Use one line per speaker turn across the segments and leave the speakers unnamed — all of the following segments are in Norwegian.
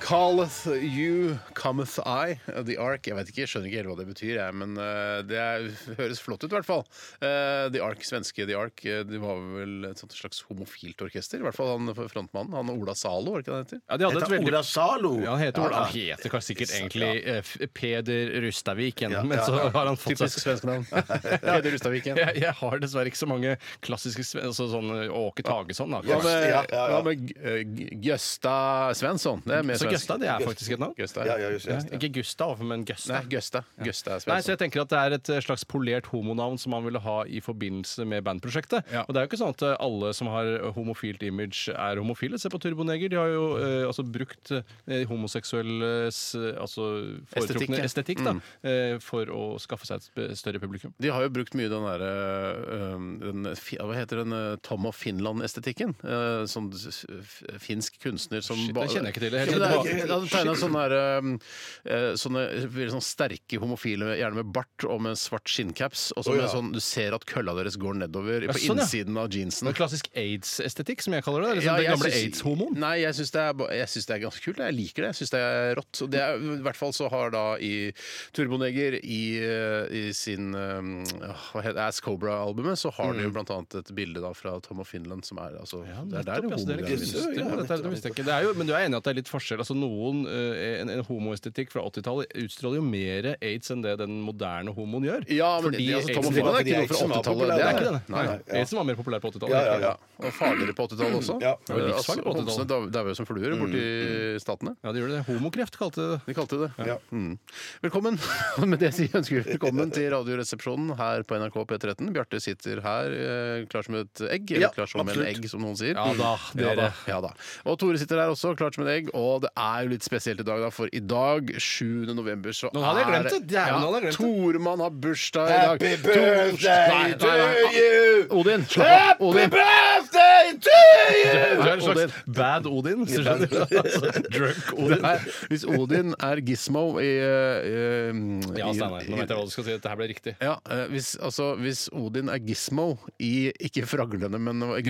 Calleth you, cometh I, uh, The Ark. Jeg vet ikke, jeg skjønner ikke helt hva det betyr, jeg, men eh, det er, høres flott ut i hvert fall. Eh, The Ark, svenske The Ark, eh, det var vel et sånt slags homofilt orkester? I hvert fall han frontmannen, han Ola Zalo, var det ikke det han heter?
Ja, de hadde et
Heter
veldig
Ola Zalo.
Ja, han heter,
Ja,
Ola-
ja.
han heter kanskje sikkert egentlig eh, F- Peder Rustavik, igjen,
Ja,
men
ja,
så
ja.
har han fått
Typisk
seg
svensk navn. Peder Rustaviken.
jeg, jeg har dessverre ikke så mange klassiske sve- altså, sånn Åke Tagesson. Da,
Hva med,
Ja, ja, ja.
hva med eh, G- Gøsta Svensson? Det er mer
så
svensk.
Gøsta det er faktisk et navn.
Gøsta,
Ja,
ja.
ja, just, just, ja.
Ikke Gustav, men
Nei,
Gøsta.
Gøsta. Gøsta
Nei, så
Svensson.
jeg tenker at Det er et eh, slags polert homonavn som han ville ha i forbindelse med bandprosjektet.
Ja.
Og Det er jo ikke sånn at eh, alle som har homofilt image, er homofile. Se på Turboneger. De har jo
Mm.
eh, altså brukt eh, homoseksuelles eh, altså
Estetikk,
foretrukne
ja. Mm.
estetikk, da, eh, for å skaffe seg et sp- større publikum.
De har jo brukt mye den derre øhm, den fi- Hva heter den øh, Tom of Finland-estetikken? Øh, Sånn s- f- finsk kunstner som
Shit, det
bare-
kjenner jeg ikke til. Jeg
Ja, men det
kjenner
er-
bare-
Han tegna sånne, der, øhm, øh, sånne veldig sånn sterke homofile, gjerne med bart og med svart skinncaps. Og så
Å,
med
ja.
sånn, du ser at kølla deres går nedover på
sånn, ja.
innsiden av jeansen.
Det er klassisk aids-estetikk, som jeg kaller det. det. er Liksom
jeg
den gamle
syns-
aids-homoen.
Nei, jeg syns det, er ba- jeg syns det er ganske kult. Jeg liker det. Jeg syns det er rått. Og Det er, I hvert fall så har da i Turboneger i, eh, i sin um, hva heter, Ass Cobra-albumet, så har
Mm.
de jo blant annet et bilde da fra Tom of Finland som er altså, Det er der
Nettopp, altså, det
homoen
er litt
er.
kunstig, men dette er- det visste jeg ikke. Det er jo, men du er enig i at det er litt forskjell? Altså noen, eh, En, en homoestetikk fra 80-tallet utstråler jo mer aids enn det den moderne homoen gjør.
Ja, men
Fordi
det, altså, Tom
aidsen
of Finland
var-
er ikke
fordi
noe fra
aidsen var
80-tallet.
populær.
Det
Det
er
er
ikke
det.
det, nei.
Nei, ja.
Aidsen var mer populær på 80-tallet.
Ja, ja,
Ja, og farligere på 80-tallet også.
Ja.
Det var jo
Livsfarlig på Mm. 80-tallet.
homsene dau- dauer som fluer borti statene.
Ja, det gjorde det. Homokreft kalte det det.
De kalte det det.
Ja.
Mm. Velkommen. Med det sier jeg ønsker vi velkommen til Radioresepsjonen her på NRK P13. Bjarte sitter her eh, klar som et egg. Eller
Ja,
klar som en
absolutt.
egg, som noen sier.
Ja da,
Dere-
ja da.
ja da. Og Tore sitter her også, klart som et egg. Og det er jo litt spesielt i dag, da, for i dag, 7. november, så
Nå hadde jeg glemt det. Dæven,
Ja,
nå hadde jeg glemt det.
Toremann har bursdag i dag.
Happy birthday
Tor-
to
Nei, nei, nei.
you!
Odin, slapp av.
Happy
Odin.
birthday to you!
Du er en slags bad Odin. hvis du skjønner. Altså, Drunk
Det
Odin.
er, hvis Odin er Gizmo i, eh, i-
Ja, Steinar.
i-
Nå vet jeg hva du skal si. Dette her ble riktig.
Ja, eh, hvis, altså, hvis Odin er Gizmo i ikke fraglene, men Gremlins,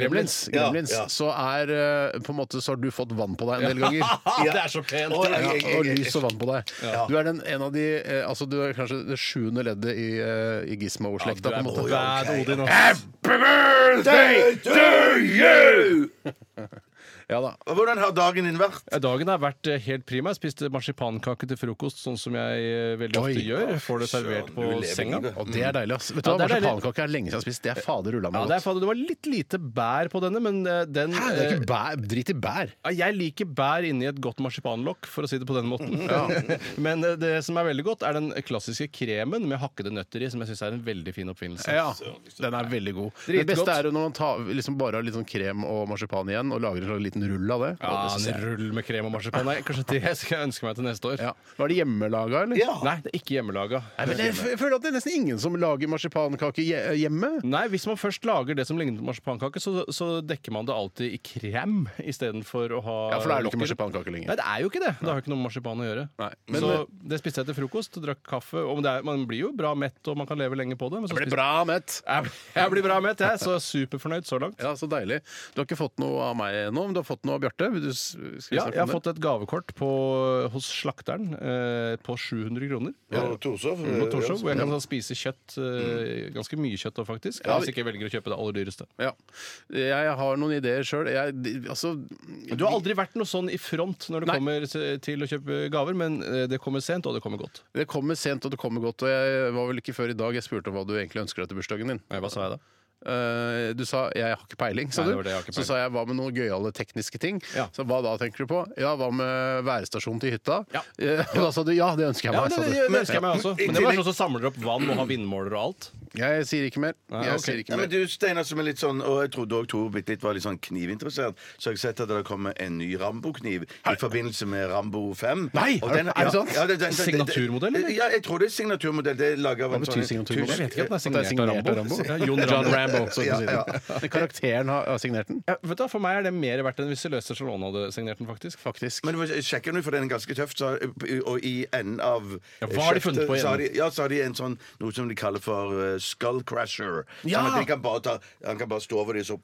Gremlins.
Ja,
Gremlins
ja.
så er eh, på en måte så har du fått vann på deg en del ganger.
Ja. Ah, Det er så pent!
Å,
Ja,
jeg- jeg-
og
jeg-
lys og vann på deg. Du er den, en av de eh, altså Du er kanskje det sjuende leddet i, eh, i Gizmo-slekta. på en måte.
bad
ok.
Odin. ass.
Birthday to you!
Ja da.
Og Hvordan har dagen din vært?
Ja, Dagen har vært eh, helt prima. Jeg spiste marsipankake til frokost, sånn som jeg eh, veldig
Oi.
ofte gjør. Får det servert
Søren,
på
du lever
senga.
livet.
Og det er deilig, ass. Vet du
Ja,
hva,
det er deilig.
Marsipankake er lenge siden jeg har spist. Det er fader ulla
Ja,
meg
det, er,
godt.
fader, det var litt lite bær på denne, men eh, den
Hæ, det er
eh,
ikke bær, drit i bær.
ja, jeg liker bær inni et godt marsipanlokk, for å si det på den måten. Men eh, det som er veldig godt, er den klassiske kremen med hakkede nøtter i, som jeg syns er en veldig fin oppfinnelse.
Ja, den er veldig god. Det
liksom, Dritgodt.
beste er jo når man tar, liksom bare har litt sånn krem og marsipan igjen, og lager en slags liten rull av det.
Ja,
Og det synes jeg-
en rull med krem og marsipan. Nei, kanskje det skal jeg ønske meg til neste år.
Ja. Var det hjemmelaga, eller?
Ja.
Nei, det er ikke hjemmelaga.
Nei, men jeg f- jeg føler at det er nesten ingen som lager marsipankake hje- eh, hjemme.
Nei, hvis man først lager det som ligner på marsipankake, så, så dekker man det alltid i krem istedenfor å ha
Ja, for da er det ikke
lokker.
marsipankake lenger.
Nei, det er jo ikke det. Det har jo ikke noe med marsipan å gjøre.
Nei, men-
så det spiste jeg til frokost, drakk kaffe. Og det er, man blir jo bra mett, og man kan leve lenge på det. Men så
Det blir
spiste-
bra mett.
Jeg, jeg blir bra mett, jeg. Så superfornøyd så langt.
Ja, så deilig. Du har ikke fått noe av meg ennå, men du har fått noe av Bjarte. Vil du s- skal vi
Ja,
snakke
jeg har
om det?
fått et gavekort på, hos slakteren eh, på 700 kroner.
Og Torshov.
På Torshov,
eh,
hvor jeg kan spise kjøtt,
Mm.
eh, ganske mye kjøtt da, faktisk. Hvis ikke jeg velger å kjøpe det aller dyreste.
Ja. Jeg har noen ideer sjøl. Altså
Du har aldri vært noe sånn i front når det
Nei.
kommer til- til å kjøpe gaver, men eh, det kommer sent, og det kommer godt.
Det kommer sent, og det kommer godt. Og jeg var vel ikke før i dag jeg spurte om hva du egentlig ønsker deg til bursdagen din.
Nei, hva sa jeg da?
Eh, du sa 'jeg har ikke peiling', sa
Nei,
du.
det var det, jeg har ikke
så
peiling.
sa jeg 'hva med noen gøyale tekniske ting'?
Ja.
Så hva da, tenker du på? Ja, hva med værstasjon til hytta?
Ja.
Eh, og da sa du 'ja, det ønsker jeg
Ja,
meg'.
det,
sa du.
det, det ønsker jeg meg også.
i
Men det var
tillegg-
sånn som samler opp vann og har vindmåler og alt.
Jeg sier ikke mer.
Nei,
Jeg
ok.
sier ikke
Nei, men
mer.
du, Steinar, som er litt sånn Og jeg trodde òg Tor bitte litt var litt sånn knivinteressert. Så har jeg sett at det kommer en ny Rambo-kniv i forbindelse med Rambo 5.
Nei,
Og
er det- er det
ja,
sant?
ja, det- det- det-
Signaturmodell, eller?
Ja, jeg tror det er signaturmodell. Det er laget av
Hva
en
betyr
sånn-
signaturmodell?
tysk-
Jeg vet ikke at den er
At det er
signert av Rambo. Ja, Jon John
så
Rambo.
å si det. Men Karakteren har har signert den,
Ja, vet du, hva, For meg er det mer verdt enn hvis Celeste Stallone hadde signert den, faktisk.
faktisk.
Men du må sjekke den ut, for den er ganske tøff. Så, og i enden av
Ja, hva har de
skjeftet
funnet på i
så har de,
enden?
ja, så har de en sånn noe som de kaller for eh, skull crusher.
Ja!
Sånn at de kan bare ta, han kan bare stå over det, så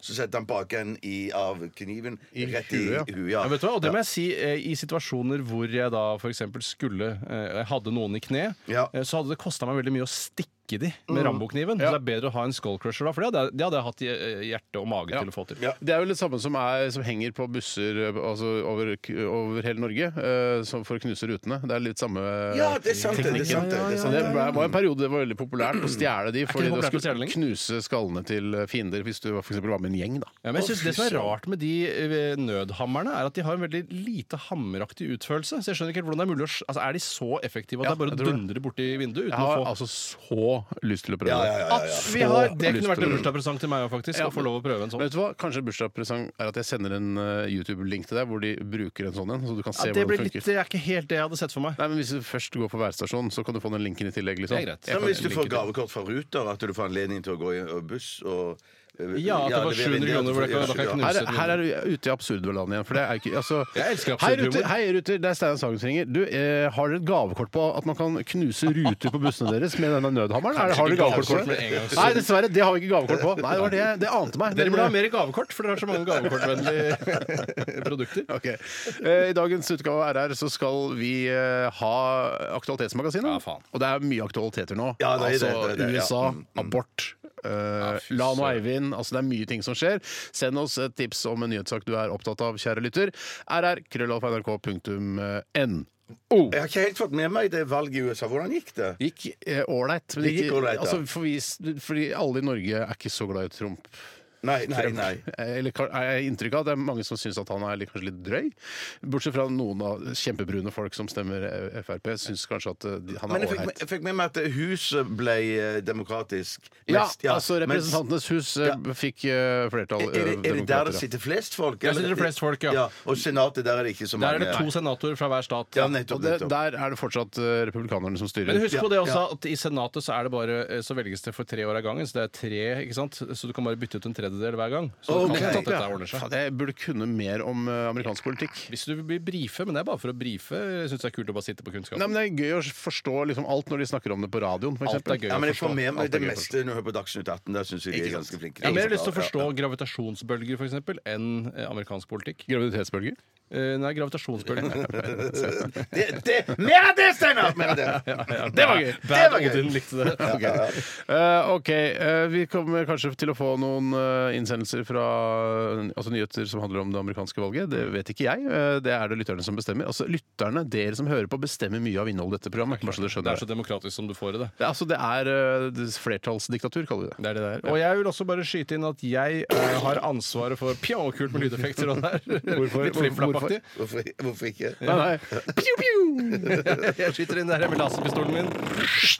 så setter han bakenden i- av kniven
I
rett i
huet, ja.
huet. Ja.
Ja, vet du hva? Og det må jeg si, eh, I situasjoner hvor jeg da f.eks. skulle eh, Jeg hadde noen i kne,
Ja.
eh, så hadde det kosta meg veldig mye å stikke de med Rambo-kniven. Så det er bedre å ha en skullcrusher da, for det hadde, jeg- det hadde jeg hatt i, eh, hjerte og mage til å få til.
Ja.
Det er jo det samme som, er, som henger på busser eh, altså over, over hele Norge eh, som for å knuse rutene. Det er litt samme
Ja, det er sant, det, det er sant, det, det er sant,
Det
det.
ble- var en periode det var veldig populært å stjele de, fordi
det
det
populært å
skulle
stjele lenger?
knuse skallene til fiender hvis du for eksempel var med en gjeng. da.
Ja, men jeg
Å,
synes
fy
Det som er
søren.
rart med de eh, nødhammerne, er at de har en veldig lite hammeraktig utførelse. Så jeg skjønner ikke helt hvordan det Er mulig å... s- Altså, er de så effektive at
Ja,
det er
jeg
bare å
tror
dundre borti vinduet uten
Jeg har
å få
altså så lyst til å prøve
Ja, ja, ja, ja, ja.
At vi har, Det
lyst
kunne vært
til
en
å-
bursdagspresang til meg òg, faktisk. Å få lov å prøve en sånn.
Men vet du hva? Kanskje en bursdagspresang er at jeg sender en eh, YouTube-link til deg hvor de bruker en sånn en, så du kan se
Ja, det,
hvordan
blir
det
litt,
funker.
det er ikke helt det jeg hadde sett for meg.
Nei, men Hvis du først går på værstasjonen, så kan du få den linken i tillegg. liksom.
Det er greit.
Jeg
Som
kan
hvis du
linke
får
til-
gavekort fra Ruter, at du får anledning til å gå i og buss og eh,
Ja, at det var 700 kroner, hvor det kan- da kan jeg knuse.
Her, er- her er du ute i absurdland igjen. for det er ikke, altså...
Jeg elsker
Hei,
absurd
Ruter,
humor.
hei, Ruter, det er Steinar Sagen som ringer. Du, eh, har dere et gavekort på at man kan knuse ruter på bussene deres med denne nødhammeren? Er, det- har
ikke
dere gavekort på
gavekort med
det?
engangs-
Nei, dessverre, det har vi ikke gavekort på. Nei, det var det, det ante meg.
Dere
Men, eh,
burde ha mer gavekort, for dere har så mange gavekortvennlige produkter.
Ok. Eh, I dagens utgave av RR så skal vi eh, ha Aktualitetsmagasinet.
Ja, faen.
Og det er mye aktualiteter nå.
Ja, det er det,
altså
det er det, ja.
USA,
Mm,
abort. Uh, Lan og Eivind. Altså, det er mye ting som skjer. Send oss et tips om en nyhetssak du er opptatt av, kjære lytter. eh, rr.krøllalfa.nrk.no.
Jeg har ikke helt fått med meg det valget i USA. Hvordan gikk det?
Gikk eh, ålreit. men
Det gikk
ikke-
ålreit, ja.
altså, for vi- fordi alle i Norge er ikke så glad i Trump.
Nei, nei, nei.
Eh, Eller kan- jeg har inntrykk av at det er mange som syns at han er litt, kanskje litt drøy. Bortsett fra noen av kjempebrune folk som stemmer eh, Frp, syns kanskje at eh, de, han
Men
er
jeg fikk,
ålreit.
jeg fikk med meg at huset ble eh, demokratisk.
Ja,
mest,
altså
mens-
Representantenes hus eh,
Ja.
fikk eh, flertall.
er, det, er det der det sitter flest folk?
Der sitter det flest folk, ja.
Og senatet, der er det ikke så mange.
Der er det to senatorer fra hver stat.
Ja,
og
nettopp,
det,
nettopp.
der er det fortsatt eh, republikanerne som styrer.
Men husk
Ja,
på det også
ja.
at i Senatet så er det bare eh, så velges det for tre år av gangen. Så det er tre, ikke sant? Så du kan bare bytte ut en tredjedel hver gang. Så
Ok.
det kan hende at
Ja.
dette ordner seg.
Faen, jeg burde kunne mer om eh, amerikansk politikk.
Hvis du vil bli brife, men det er bare for å brife. Jeg syns det er kult å bare sitte på kunnskap.
Nei, men Det er gøy å forstå liksom alt når de snakker om det på radioen. For
Alt er
eksempel.
gøy å
Ja, men jeg får
forstå.
med meg
Alt er
det
gøy å
meste når jeg hører på Dagsnytt 18. Der syns jeg de er ganske flinke.
jeg har mer lyst til å
Ja,
forstå
ja.
gravitasjonsbølger for eksempel, enn eh, amerikansk politikk.
Graviditetsbølger?
Eh, Nei, gravitasjonsbølger.
Det, det, mer av det, Steinar! Mer av det!
Det var gøy!
Bad
var gøy.
Odin likte det.
Ok, Eh, ok, eh, Vi kommer kanskje til å få noen eh, innsendelser fra eh, altså nyheter som handler om det amerikanske valget. Det vet ikke jeg. Eh, det er det lytterne som bestemmer. Altså Lytterne, dere som hører på, bestemmer mye av innholdet i dette programmet. Bare så dere
Det
skjønner
er så
det.
demokratisk som du får i det.
Det er, altså, det er eh, det- flertallsdiktatur, kaller vi det.
Det er det der. Og jeg vil også bare skyte inn at jeg eh, har ansvaret for pjaokult med lydeffekter og det der.
Hvorfor?
Litt flipp-flapp-aktig.
Hvorfor, hvorfor ikke?
Nei, nei. Piu, piu!
Jeg skyter inn der med laserpistolen min.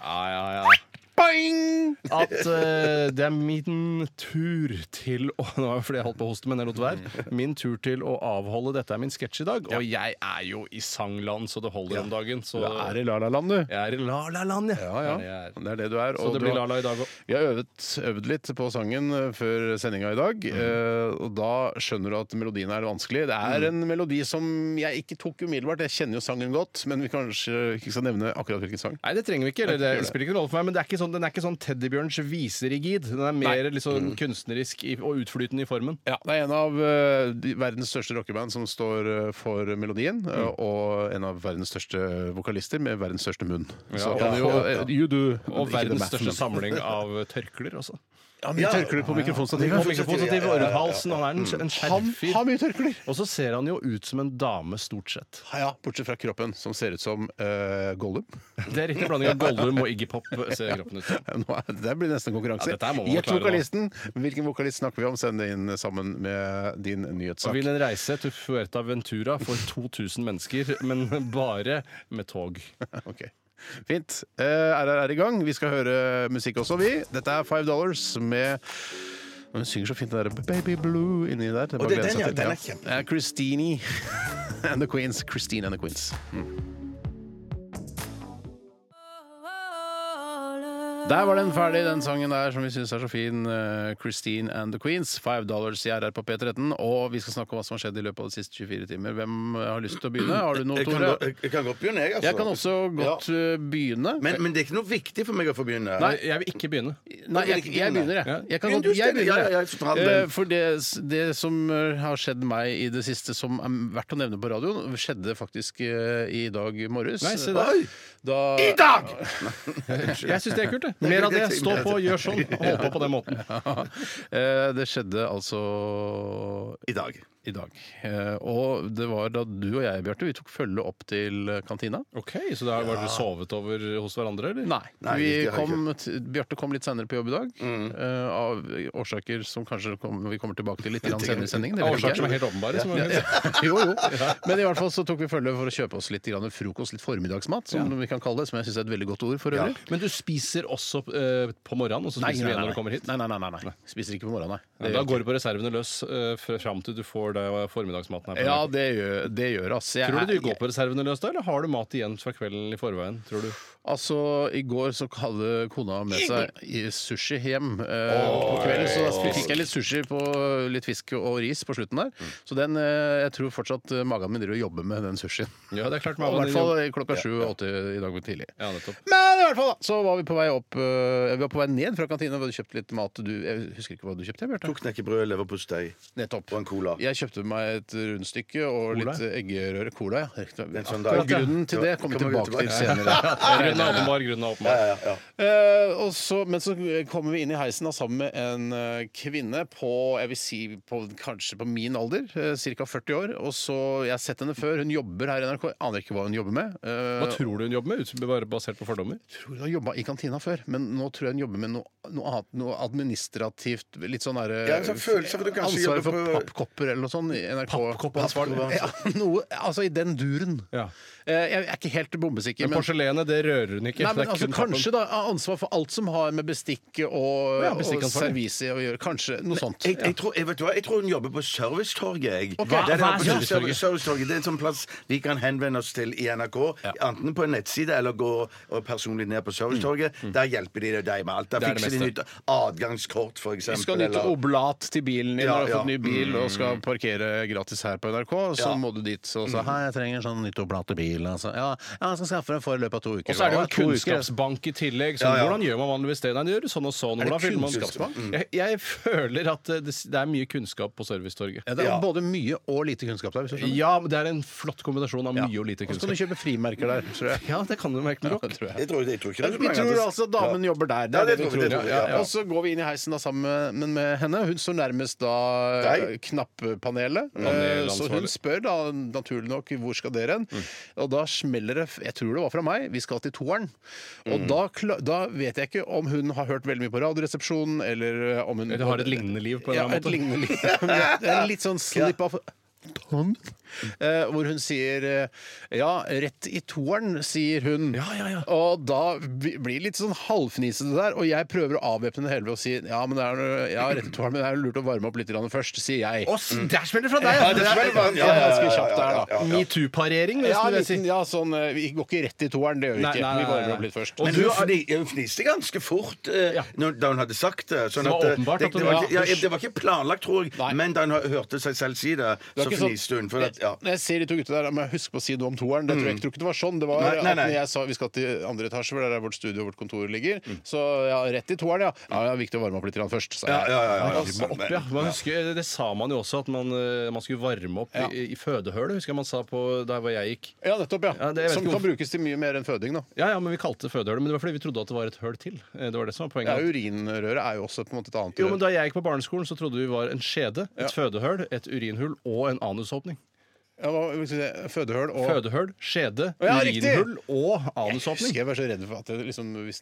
Ja, ja, ja.
Boing!
At eh, det er min tur til å Nå var det fordi jeg holdt på å hoste, men jeg lot være. Min tur til å avholde Dette er min sketsj i dag. Og jeg er jo i sangland så det holder om dagen. Så
Du er i la-la-land, du.
jeg er i la-la-land, jeg.
Ja, ja.
Det er det jeg er.
Det er det du er.
Så
og
det
du
blir
har-
la-la i dag òg.
Vi har øvet, øvd litt på sangen eh, før sendinga i dag, eh, og da skjønner du at melodien er vanskelig. Det er en melodi som jeg ikke tok umiddelbart. Jeg kjenner jo sangen godt, men vi kanskje ikke skal nevne akkurat hvilken sang.
Nei, det trenger vi ikke. Eller det spiller ikke noen rolle for meg, men det er ikke sånn, den er ikke sånn Teddybjørns viserigid. Den er mer
Mm.
liksom kunstnerisk i, og utflytende i formen.
Det er en av eh, de- verdens største rockeband som står eh, for melodien, eh, og en av verdens største vokalister med verdens største munn. Så
og-
kan du jo eh, You do Ikke
Og
the
verdens
math,
største
men-
samling av tørklær, altså.
Ja, mye tørklær på mikrofonstativet.
Og mikrofonstativ og rundt halsen. Mm. Han er en, en
Han
skjermfyr.
har mye tørklær!
Og så ser han jo ut som en dame, stort sett.
Ja, ja, Bortsett fra kroppen, som ser ut som eh, Gollum.
Det er riktig blanding av Gollum og Iggy Pop. Ser kroppen ut som.
Nå er, det blir nesten konkurranse.
Ja, dette her må man
Gjett
klare, da.
vokalisten. Hvilken vokalist snakker vi om? Send det inn sammen med din
Og
nyhetssak.
vil en reise til Fuerta Ventura for 2000 mennesker, men bare med tog.
Ok. Fint. Eh, RR er i gang. Vi skal høre musikk også, vi. Dette er Five Dollars med Hun synger så fint det der Baby Blue inni der. Det er bare
det er
å glede
den,
seg
ja.
til.
Den er kjempe-
Eh, Christine and the Queens. Christine and the Queens. Mm. Der var den ferdig, den sangen der som vi syns er så fin. eh, Christine and the Queens. Five dollars i RR på P13. Og vi skal snakke om hva som har skjedd i løpet av de siste 24 timer. Hvem har lyst til å begynne? Har du noe,
Jeg kan,
Tore?
gå- jeg- jeg kan godt begynne, jeg. Altså.
Jeg kan også godt eh, begynne.
Men, men det er ikke noe viktig for meg å få begynne.
Nei, jeg vil ikke begynne.
Nei, jeg, jeg begynner, jeg.
Ja.
Jeg kan
Begynn
godt,
du,
jeg
Steinar.
begynner,
Ja, ja,
jeg.
jeg fortalte den.
Eh, For det, det som eh, har skjedd meg i det siste som er verdt å nevne på radioen, skjedde faktisk eh, i dag morges.
Nei, se der.
Oi!
Da,
I dag!
Jeg syns det er kult, det. Mer av det. Stå på, gjør sånn. Hold på på den måten.
Eh, det skjedde altså
I dag.
i dag. Eh, Og det var da du og jeg, Bjarte, vi tok følge opp til kantina.
Ok, Så da var dere sovet over hos hverandre, eller?
Nei.
Nei,
vi
det har jeg
kom, t- Bjarte kom litt senere på jobb i dag, eh, av årsaker som kanskje kom, vi kommer tilbake til litt grann senere i sendingen. det
Av
vet jeg
årsaker
ikke.
som er helt åpenbare. Som er
jo, jo. Men i hvert fall så tok vi følge for å kjøpe oss litt grann frokost, litt formiddagsmat, som vi kan kalle det. Som jeg syns er et veldig godt ord for øvrig.
Men du spiser også eh, på morgenen, og så spiser du igjen når du kommer hit?
Nei, nei, nei, nei, nei. Spiser ikke på morgenen, nei.
Ja,
Det
da
gjør
går du på reservene løs eh, fra- fram til du får det formiddagsmaten
jeg ikke.
her.
ja,
På
det gjør, det gjør ass. Jeg
Tror du
er-
du går på reservene løs da, eller har du mat igjen fra kvelden i forveien? tror du?
Altså, I går så hadde kona med seg i sushi hjem. eh, på kvelden så fikk jeg litt sushi på litt fisk og ris på slutten der. Så den, eh, jeg tror fortsatt eh, magen min driver og jobber med den sushien.
Ja, det er klart.
I hvert fall klokka sju og åtte i dag tidlig.
Ja, nettopp.
Men i hvert fall da, så var vi på vei opp eh, Vi var på vei ned fra kantina. Vi hadde kjøpt litt mat. Du, jeg husker ikke hva du kjøpte, Bjarte.
To knekkebrød, leverpostei
Nettopp.
og en cola.
Jeg kjøpte meg et rundstykke og
Cola?
litt eggerøre. Cola, ja. Riktig.
En sånn dag.
Akkurat grunnen til det kommer vi
Kommer vi
tilbake til
tilbake
senere.
Grunnen er åpenbar. Grunnen er åpenbar.
Ja, ja.
Eh, og så, men så kommer vi inn i heisen da, sammen med en eh, kvinne på jeg vil si på, kanskje på min alder, uh, ca. 40 år. Og så, Jeg har sett henne før. Hun jobber her i NRK. Jeg aner ikke hva hun jobber med. Eh,
Hva tror du hun jobber med? ut- Bare basert på fordommer?
tror hun har jobba i kantina før, men nå tror jeg hun jobber med noe, noe annet. Noe administrativt. Litt sånn derre
Ja, en sånn følelse av at du kanskje jobber
Ansvaret for
på-
pappkopper eller noe sånt i NRK.
Pappkoppansvar.
Ja, noe, altså i den duren.
Ja.
Eh, Jeg er ikke helt bombesikker.
Men porselenet, det rører hun ikke.
Nei,
Det
men
er
altså,
kun tappen.
kanskje da ha ansvar for alt som har med bestikk og,
Ja,
og
bestikkansvar, ja.
servise å gjøre. Kanskje noe sånt.
Jeg, jeg, tror, jeg, vet du hva, jeg tror hun jobber på Servicetorget. Jeg.
Ok,
Der er
hva er
på
Servicetorget?
Servicetorget? Det er en sånn plass vi kan henvende oss til i NRK. Enten på en nettside eller gå og personlig ned på Servicetorget.
Mm,
Der hjelper de deg med alt. Der
Det er det
fikser de nytt
meste.
adgangskort, for
Du
eksempel.
skal nyte
eller-
oblat til bilen din
Ja,
når du har fått
ja.
ny bil og skal parkere gratis her på NRK. Så
Ja. Mhm.
må du dit og si 'hei, jeg trenger sånn nytt oblat til bil'. Altså. Ja, ja, jeg skal skaffe det for i løpet av to uker.
Og så er det jo en
Ja, to uker,
kunnskapsbank i tillegg. Så
Ja, ja.
Hvordan gjør man vanligvis det? Nei, det gjør du sånn og sånn. Hvordan fyller man Mm.
kunnskapsbank?
Jeg, jeg føler at eh, det, s- det er mye kunnskap på Servicetorget.
Ja, det
Ja.
er både mye og lite kunnskap der. Hvis du skjønner.
Ja, men det er en flott kombinasjon av mye og lite
Og så kan
kunnskap.
du kjøpe frimerker der, tror jeg.
Ja, det kan du merke med rock.
Det tror jeg.
Jeg tror, jeg tror ikke det er så
Vi
mange
tror
andre-
altså damen jobber der. Det
Ja,
er
det
det vi
tror vi,
tror.
det tror vi,
Ja,
ja.
Og så går vi inn i heisen da sammen med- med henne. Hun står nærmest da
Deg. Mm.
eh, knappanelet. Eh,
Panelansvarlig.
Så hun spør da naturlig nok hvor skal dere hen.
Mm.
Og da smeller det f- Jeg tror det var fra meg. Vi skal til toeren.
Mm.
Og da, kla- da vet jeg ikke om hun har hørt veldig mye på Radioresepsjonen, eller eh, om hun
Eller har et lignende liv på en
ja,
eller annen
et
måte.
lignende liv. Det er en litt sånn slip av tongue. Eh, hvor hun sier eh, Ja, rett i toeren, sier hun.
Ja, ja, ja.
Og da bli- blir det litt sånn halvfnisete der, og jeg prøver å avvæpne det hele ved å si ja, men det er, noe- ja, rett i toeren, men det er lurt å varme opp litt grann først, sier jeg.
Mm. Der smeller det fra deg!
det smeller fra-
ja, ganske kjapt der, da.
Metoo-parering, vil
Ja,
jeg
liten,
si.
ja, sånn, eh, vi går ikke rett i toeren, det gjør vi
Nei,
ikke.
nei, nei,
vi varmer
nei.
opp litt først.
Og
Men
du
hun,
har-
fni, hun fniste ganske fort eh,
Ja.
når, da hun hadde sagt det. Sånn
Det var
at, eh,
åpenbart
det,
at
det,
hun-
var,
ja,
ikke- ja, det var ikke planlagt, tror jeg,
Nei.
men da hun hørte seg selv si det,
Det
så
var ikke sånn-
fniste hun. For at, ja. Mm.
Når jeg ser de to gutta der, må jeg huske på å si noe om toeren. Det tror jeg, ikke- tror ikke det var sånn. Det var
Nei, nei,
at når
nei.
jeg sa vi skal til andre etasje, for der er vårt studio og vårt kontor ligger. Så ja, rett i toeren, ja. Ja, ja, viktig å varme opp litt grann først, sa jeg.
Mm. Ja, ja, ja, ja, ja.
Altså,
Men-
Ja, man husker, eh, det sa man jo også, at man, eh, man skulle varme opp
Ja.
i, i fødehølet, husker jeg man sa på der hvor jeg gikk.
ja, nettopp, ja.
Ja, det- jeg vet
Som
ikke
kan
hvorfor-
brukes til mye mer enn føding, da.
Ja, ja, men vi kalte det fødehølet, men det var fordi vi trodde at det var et høl til. Eh, Det var det som var
Ja,
poenget.
urinrøret er jo også på en måte et annet
Jo, men
rør.
Da jeg gikk på barneskolen, så trodde vi var en skjede, et fødehøl, et urinhull og en anusåpning.
Ja, hva, hva skal jeg si, fødehull og
Fødehull, skjede,
Å, ja,
urinhull
Jeg
og
husker
anusåpning.
jeg var så redd for at jeg liksom, hvis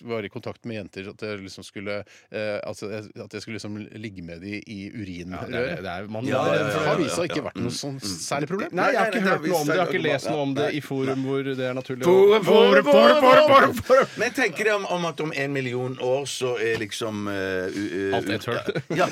jeg var i kontakt med jenter, at jeg liksom skulle eh, altså, At jeg skulle liksom ligge med de i
Ja, det er-
urinrøret.
det er- man-
Ja, ja, ja,
Det
ja.
har vist seg ikke vært noe sånn
Mm.
særlig problem.
Nei, jeg har ikke
Nei, nei,
hørt
nei,
noe om det. Jeg har ikke
nei,
lest noe om det i forum hvor det er naturlig. å-
Forum, forum, forum, forum, forum,
forum.
Men tenker dere om, om at om en million år så er liksom eh, u- u-
Alt ett høl.
Ja.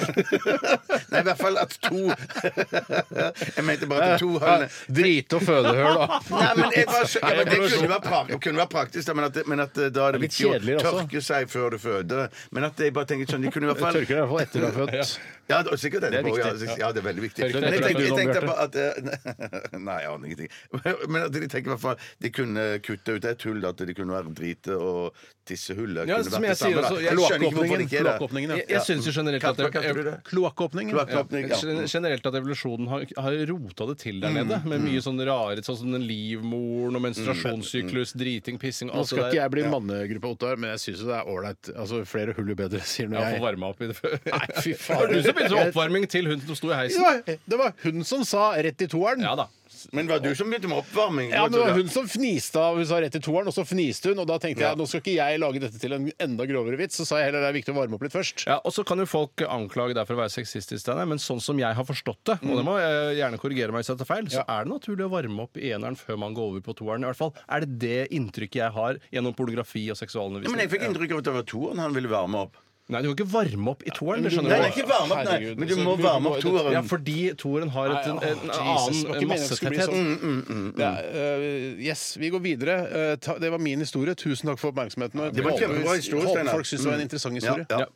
Nei, i hvert fall at to Jeg mente bare at to
Ja,
høl
Drite og fødehull og
Nei, men jeg var så, ja, men det
evolusjon.
kunne være, pra- det kunne være praktisk, da, men at, det- men at eh, da er det
litt
viktig å
kjedeligere også.
tørke seg før du føder. Men at jeg bare tenker sånn De kunne i hvert fall
Tørker i hvert fall etter du er født.
Ja, det- og sikkert
Det er
etterpå. Ja,
viktig.
sikkert- ja, det er veldig viktig.
Tørker
Men jeg
etter
tenkte, jeg
at du
tenkte
er
på at eh, Nei, jeg aner ingenting. Men at de tenker i hvert fall De kunne kutte ut et hull, at det kunne være drite- og tissehullet.
Ja,
kunne vært
som
det
jeg
samme,
sier
da.
også,
Jeg skjønner ikke hvorfor det ikke er det.
Kloakkåpningen,
Jeg,
ja.
jeg syns jo generelt at
Hva kalte du det?
Kloakkåpningen. ja. Mm.
Kloakkåpning, ja.
Gen- Generelt at evolusjonen har, har rota det til der nede, med mye sånne rare sånn som den livmoren og menstruasjonssyklus, driting, pissing
Mm. Nå
alt
skal
det
ikke
der.
jeg bli mannegruppa Ottar, men jeg syns det er ålreit. Altså, flere hull jo bedre, sier nå
Ja, få
jeg.
varma opp i det før.
Nei, fy faen.
Var det du som begynte med oppvarming til hun som sto i
Det
heisen?
var, det var hun som sa rett i toeren.
Ja da.
Men var det du som begynte med oppvarming?
Ja, men det var hun som fniste av Hun sa rett i toeren, og så fniste hun. Og da tenkte jeg nå skal ikke jeg lage dette til en enda grovere vits, så sa jeg heller det er viktig å varme opp litt først.
Ja, og så kan jo folk anklage deg for å være sexistisk, Steinar, men sånn som jeg har forstått det, og det må jeg gjerne korrigere meg hvis jeg tar feil, så er det naturlig å varme opp i eneren før man går over på toeren. I hvert fall er det det inntrykket jeg har gjennom pornografi
Ja,
og
men jeg
seksualundervisning.
fikk inntrykk av at det var toeren han ville varme opp.
Nei, du kan ikke varme opp i toeren,
Nei,
det skjønner
nei,
du.
ikke varme opp, nei,
Herregud,
men du
så
må
vi
varme
må-
opp
Ja,
toeren.
fordi toeren har et, en,
Jesus,
en,
det var ikke
annen
meningen det skulle bli
massetetthet.
sånn. Ja, øh, yes, vi går videre. Eh, ta, det var min historie. Tusen takk for oppmerksomheten.
Det var en
Håper-
kjempebra historie,
håper
Steinar.
folk syns det var en
Mm.
interessant historie.
Ja, ja.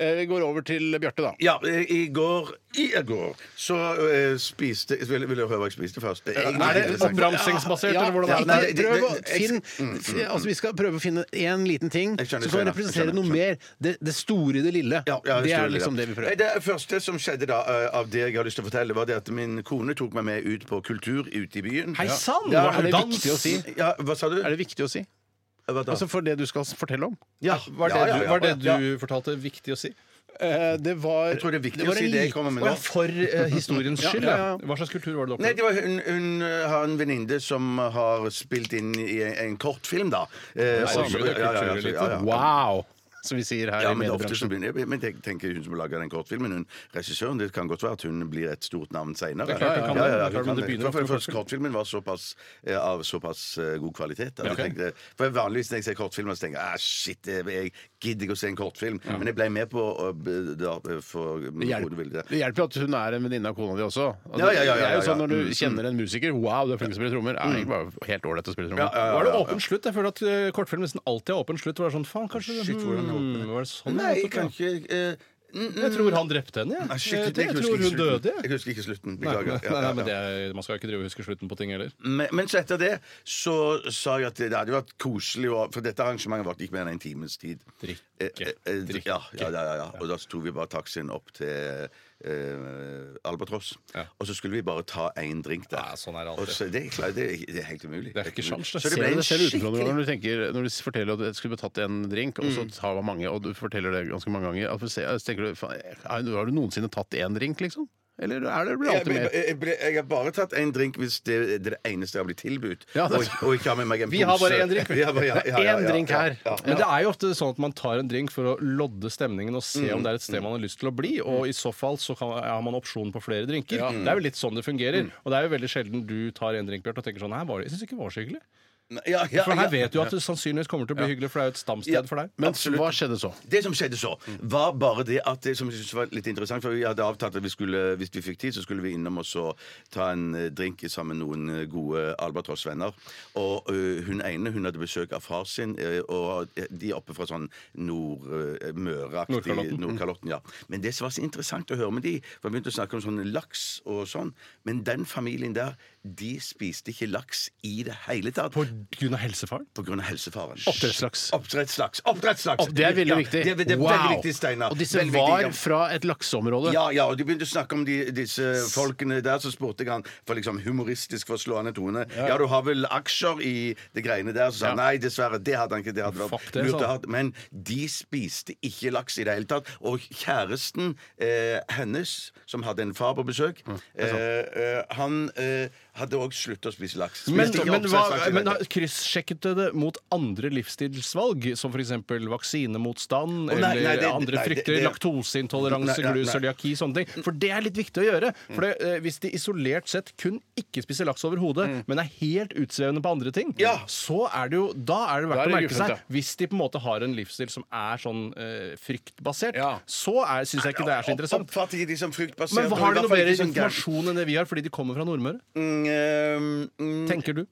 Eh, vi går over til Bjarte, da.
Ja, eh, i går I går så eh, spiste Vil, vil du høre hva jeg spiste først? Det er egentlig
Er det
interessant.
oppramsingsbasert,
Ja,
eller hvordan
Ja,
er det?
nei,
ikke
det- det-
prøv å
det- mm.
finn- f- altså, vi skal prøve å finne én liten ting
Jeg skjønner,
som kan
skjønner,
representere
skjønner,
noe mer. Det, det store i det lille.
Ja, ja,
det
stor
er
del.
liksom det vi
Nei,
prøver.
Det første som skjedde da, eh, av det jeg har lyst til å fortelle, var det at min kone tok meg med ut på kultur ute i byen.
Hei sann!
Ja,
var
er
det
det
dans?
viktig å si?
Ja, hva sa du?
Er det viktig å si?
Hva da?
Altså For det du skal fortelle om?
ja,
Var det,
ja, ja,
du,
ja,
var det
ja.
du fortalte viktig å si?
Eh, det var
Jeg tror det er viktig
var
å si
en
det jeg
liten-
kommer med
Å
nå.
ja, for eh, historiens skyld,
ja, ja.
ja. Hva slags kultur var det du
Nei,
opplevde?
det var hun, hun eh, har en venninne som har spilt inn i en, en kortfilm, da. Eh, og
Nei, det er
så-
kulturelite.
ja, ja, ja, så- ja, ja.
Wow! Som vi sier her
Ja,
i
men, det er ofte så
mediebransjen.
begynner, jeg- men jeg tenker hun som lager den kortfilmen, hun regissøren, det kan godt være at hun blir et stort navn seinere.
Det er klart hun kan det. Det er klart, men det begynner
For, for,
ofte
for, for
med
kortfilmen var såpass, eh, av såpass eh, god kvalitet. at jeg
ok.
tenkte, for jeg Vanligvis når jeg ser kortfilmer, så tenker jeg ah, shit, jeg jeg gidder ikke å se en kortfilm. Men jeg ble med på å be- da, eh, for
Det
min kone ville
hjelper,
det.
det hjelper jo at hun er en venninne av kona di også. Altså,
Ja, ja, ja, ja,
Det
ja,
er jo
ja.
sånn Når du
Mm.
kjenner en musiker Wow, du er flink til å spille trommer. Er det ikke bare helt ålreit å spille trommer?
Ja, ja,
Var det
ja, ja.
åpen slutt? Jeg føler at eh, kortfilm nesten alltid har åpen slutt. Var det sånn, faen, kanskje det-
Shit, hvordan er det åpen?
hmm, var det sånn?
Nei,
det
jeg
endte
kan
opp, ja?
ikke eh, mm, mm.
Jeg tror han drepte henne,
Nei,
jeg.
shit,
Jeg, jeg
husker
Eh, tror
ikke
hun
slutten.
døde, jeg.
Jeg husker ikke slutten.
Nei,
Beklager. Ja,
nei,
ja,
men
ja.
det, er- man skal jo ikke drive og huske slutten på ting heller.
Men, men så etter det så sa jeg at det hadde jo vært koselig, å- for dette arrangementet varte ikke mer enn en times tid.
Drikke,
Eh, eh, eh,
drikke.
Ja, ja, ja, ja, ja. Og da tok vi bare taxien opp til eh, Albatross.
Ja.
Og så skulle vi bare ta én drink der.
Ja, sånn er det alltid.
Og så, det, er klart- det, er- det er helt umulig.
Det er ikke
Helt umulig.
sjans, det.
Så det
Ser
ble
du
en
Det ser
skikkelig
utenfra noen ganger når du tenker Når du forteller at jeg skulle tatt en drink, og så tar man mange, og du forteller det ganske mange ganger at for se, så tenker du, faen, er- Har du noensinne tatt én drink, liksom? Eller er det, blir det
jeg,
alltid mer?
jeg, jeg, eh, ble- jeg har bare tatt én drink hvis det, det er det eneste jeg har blitt tilbudt.
Ja, det-
og, og ikke har med meg en
Vi har
pose.
bare én drink, vi.
Vi har bare- ja, ja, ja,
Én
ja,
drink
ja,
her.
ja.
Men det er jo ofte sånn at man tar en drink for å lodde stemningen og se
Mm.
om det er et sted man har lyst til å bli, og i så fall så kan, har man opsjon på flere drinker. Det er jo litt sånn det fungerer.
Mm.
Og det er jo veldig sjelden du tar en drink, Bjarte, og tenker sånn Nei, var det, jeg syns ikke det var så hyggelig.
Ja, ja, ja.
For her vet du at det sannsynligvis kommer til å bli hyggelig, for det er jo et
Ja.
stamsted for deg.
Men
absolutt.
hva skjedde så?
Det som skjedde så, var bare det at det som jeg synes var litt interessant For vi hadde avtalt at vi skulle, hvis vi fikk tid, så skulle vi innom og så ta en eh, drink sammen med noen eh, gode Albatross-venner. Og eh, hun ene hun hadde besøk av far sin, eh, og de er oppe fra sånn Nord-Møre-aktig
Nordkalotten.
Nordkalotten. ja. Men det som var så interessant å høre med de, var vi begynte å snakke om sånn laks og sånn, men den familien der, de spiste ikke laks i det hele tatt.
Grunn av helsefaren?
På grunn av helsefaren.
Oppdrettslaks.
Oppdrettslaks. Oppdrettslaks.
Og det er veldig
Ja,
viktig.
Det er, det er veldig viktig, Steinar.
Og disse
Veldig viktig,
var
ja.
fra et lakseområde.
Ja, ja, og de begynte å snakke om de, disse folkene der, så spurte jeg han for liksom humoristisk forslående tone. Ja, du har vel aksjer i det greiene der? Så sa han nei, dessverre, det hadde han ikke. Det hadde
Fuck
vært
det, sånn. sa
lurt å
han.
ha. Men de spiste ikke laks i det hele tatt. Og kjæresten eh, hennes, som hadde en far på besøk, eh, eh, han eh, hadde òg sluttet å spise laks. Spiste
Men,
ikke
men,
oppdrettslaks
hva-
i det
men
hele
har
tatt.
kryssjekket du det mot andre livsstilsvalg, som f.eks. vaksinemotstand
Å, nei,
eller
nei, det-
andre
nei, det-
frykter,
det-
laktoseintoleranse,
Nei, nei, nei.
glus, cøliaki, sånne ting? For det er litt viktig å gjøre. For det, eh, hvis de isolert sett kun ikke spiser laks overhodet, men er helt utsvevende på andre ting,
Mm. Ja.
så er det jo Da er det
Da er
verdt å
det
merke
guffent,
seg.
ja.
Hvis de på en måte har en livsstil som er sånn eh, fryktbasert,
Ja.
så syns jeg ikke det er så interessant.
Oppfatter ikke de som fryktbasert.
Men
og i
har de
hvert
noe
fall
bedre
ikke sånn gæren-
informasjon enn det vi har, fordi de kommer fra Nordmøre?
Mm, eh, mm,
Tenker du?
Eh,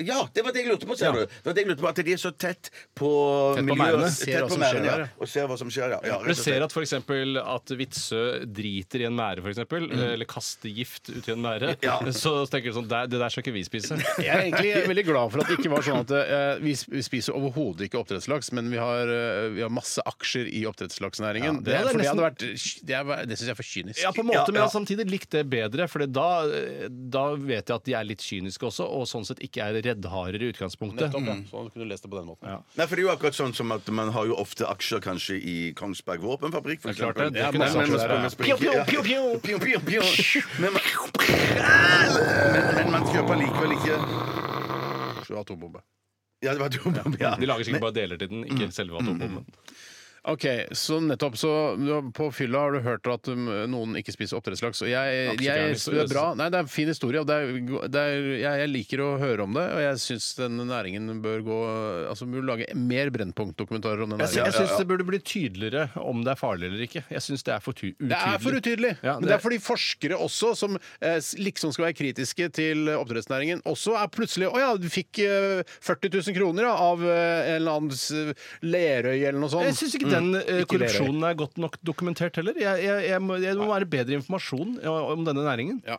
Ja, det var det jeg lurte på, ser
Ja.
du. Det var det jeg lurte på, At de er så tett på
Tett på
miljøet.
merdene.
Ser
Tett
hva
på
som
merdene,
skjer
ja.
der,
Og ser hva som skjer, ja. ja
Du ser at for eksempel at Witzøe driter i en mære, f.eks., eksempel
Mm.
eh, eller kaster gift uti en mære,
Ja.
så tenker du sånn Det det der skal ikke vi spise.
Jeg er egentlig veldig glad for at det ikke var sånn at eh, vi sp- vi spiser overhodet ikke oppdrettslaks, men vi har, eh, vi har masse aksjer i oppdrettslaksnæringen.
Ja, det
det
er
for det,
nesten-
hadde vært, det, er- det syns jeg er for kynisk.
Ja, på en måte,
Ja,
men jeg
ja.
har samtidig likt det bedre, for da, da vet jeg at de er litt kyniske også, og sånn sett ikke er reddharer i utgangspunktet.
Nettopp, ja. Sånn kunne du lest det på den måten. Ja.
Nei, for det er jo akkurat sånn som at man har jo ofte aksjer kanskje i Kongsberg våpenfabrikk, for
Det er klart
eksempel.
det. Det er ikke
men-
det.
men- men-
Aksjer der, ja.
men- men- ja. Pjo, pjo, pjo. Men man- Men- Men man kjøper likevel ikke
Atombombe.
Ja, det var dumt. Ja.
De lager sikkert bare deler til den,
Mm.
ikke selve atombomben.
Ok, så nettopp så du har- På fylla har du hørt at um, noen ikke spiser oppdrettslaks. Og jeg,
Absolutt, det er en
jeg,
historie,
det er bra. Nei, det er en fin historie. Og det er, go- det er, jeg, jeg liker å høre om det, og jeg syns denne næringen bør gå Altså bør lage mer Brennpunkt-dokumentarer om den
Jeg, sy-
næringen.
jeg syns det burde bli tydeligere om det er farlig eller ikke. Jeg syns det er for tu- utydelig.
Det er for utydelig.
Ja,
Men det er fordi forskere også, som eh, s- liksom skal være kritiske til eh, oppdrettsnæringen, også er plutselig Å ja, du fikk eh, 40 000 kroner ja, av eh, en eller annen s- Lerøy eller noe sånt.
Jeg syns ikke den eh,
Mm. Ikke
korrupsjonen er godt nok dokumentert heller. Jeg, jeg, jeg må, det må være bedre informasjon eh, om denne næringen.
Ja.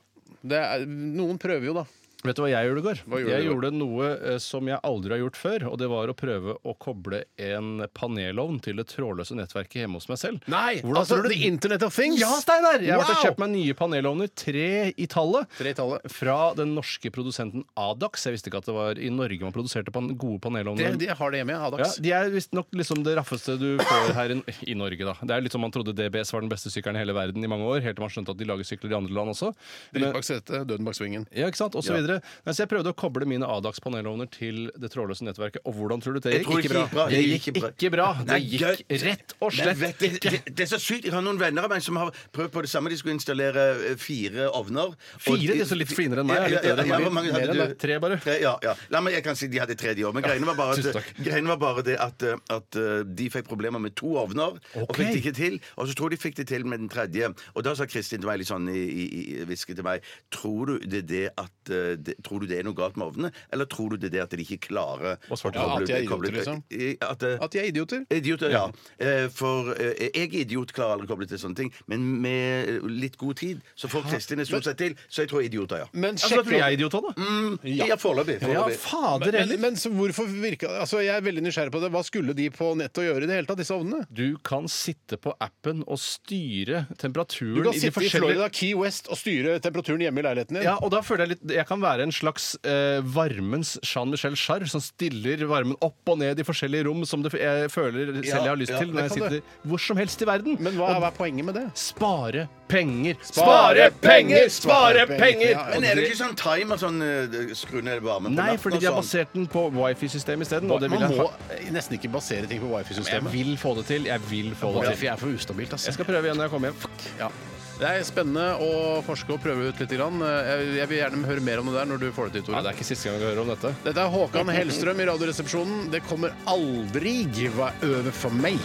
Det er, noen prøver jo, da.
Vet du hva jeg gjorde i går?
Hva gjorde du
jeg
i går?
gjorde noe eh, som jeg aldri har gjort før, og det var å prøve å koble en panelovn til det trådløse nettverket hjemme hos meg selv. Hvordan
altså,
tror du-
The Internet of Things!
Ja, Steinar! Jeg har vært og
Wow!
kjøpt meg nye panelovner, tre i tallet.
Tre i tallet.
Fra den norske produsenten Adax. Jeg visste ikke at det var i Norge man produserte pan gode
Det,
panelovner.
de har det hjemme, ja.
Ja,
Dags.
de er visstnok liksom det raffeste du får her i, i Norge. da Det er litt som Man trodde DBS var den beste sykkelen i hele verden i mange år. Helt til man skjønte at de lager sykler i andre land også. Men,
Dritt bak setet, døden bak svingen.
ja, ikke sant? Og så, videre. Nei, så jeg prøvde å koble mine Adax-panelovner til det trådløse nettverket. Og hvordan tror du det
Jeg
gikk?
tror ikke det gikk bra.
Det gikk ikke bra. Det
Nei,
gikk
jeg-
rett og
Nei,
slett
vet du,
ikke.
Det, det er så sykt. Jeg har noen venner av meg som har prøvd på det samme. De skulle installere eh, fire ovner.
Fire? De er så litt finere enn meg,
Ja,
er litt
ja,
bedre enn
ja,
meg.
hvor mange
Mer
hadde
enn
du?
meg. Tre bare.
Tre, ja, ja. La meg, jeg kan si de hadde tre, de òg. Men greiene var, bare
tusen
at,
takk.
greiene var bare det at, eh, at eh, de fikk problemer med to ovner. Og fikk det ikke til. Og så tror jeg de fikk det til med den tredje. Og da sa Kristin til meg litt sånn i- i- i- hvisket til meg Tror du det er det at eh, det, Tror du det er noe galt med ovnene, eller tror du det er det at de ikke klarer
Og svarte
Ja, at de er
koble-
idioter, liksom.
i- At, eh,
At de er idioter.
Idioter, ja. Eh, For eh, jeg er idiot, klarer aldri å koble til sånne ting. Men med eh, litt god tid så får Kristin det stort sett til, så jeg tror idioter, ja.
Men
Altså, da tror jeg
sjekk
er idiot òg, da.
Ja, foreløpig.
Ja,
foreløpig.
fader
men,
heller.
men så hvorfor virka altså Jeg er veldig nysgjerrig på det. Hva skulle de på nettet å gjøre i det hele tatt, disse ovnene?
Du kan sitte på appen og styre temperaturen
Du kan
i de
sitte i
forskjellige
Florida Key West og styre temperaturen hjemme i leiligheten din.
Ja, og da føler jeg litt Jeg kan være en slags eh, varmens Jean-Michel Jarre som stiller varmen opp og ned i forskjellige rom som det, f- jeg føler selv jeg har lyst
ja,
til når jeg
kan
sitter hvor som helst i verden.
Men hva er,
og
hva er poenget med det?
spare penger!
Spare penger!
Spare penger!
Ja, ja.
Men er det ikke sånn timer sånn eh, skru ned varmen på
Nei,
natten
fordi
og
de har
sånn?
basert den på wifi-systemet isteden. og det vil
Man
jeg
må eh,
ha-
nesten ikke basere ting på
Jeg
wifi-systemet.
vil få det til. Jeg vil få det til.
Wifi er for ustabilt, altså.
Jeg skal prøve igjen når jeg kommer hjem.
Ja. Det er spennende å forske og prøve ut litt. Grann. Eh, Jeg jeg vil gjerne høre mer om det der når du får det til, Tore.
Ja, det er ikke siste gang vi hører om dette.
Dette er Håkan Hellstrøm i Radioresepsjonen. Det kommer aldri være over for meg.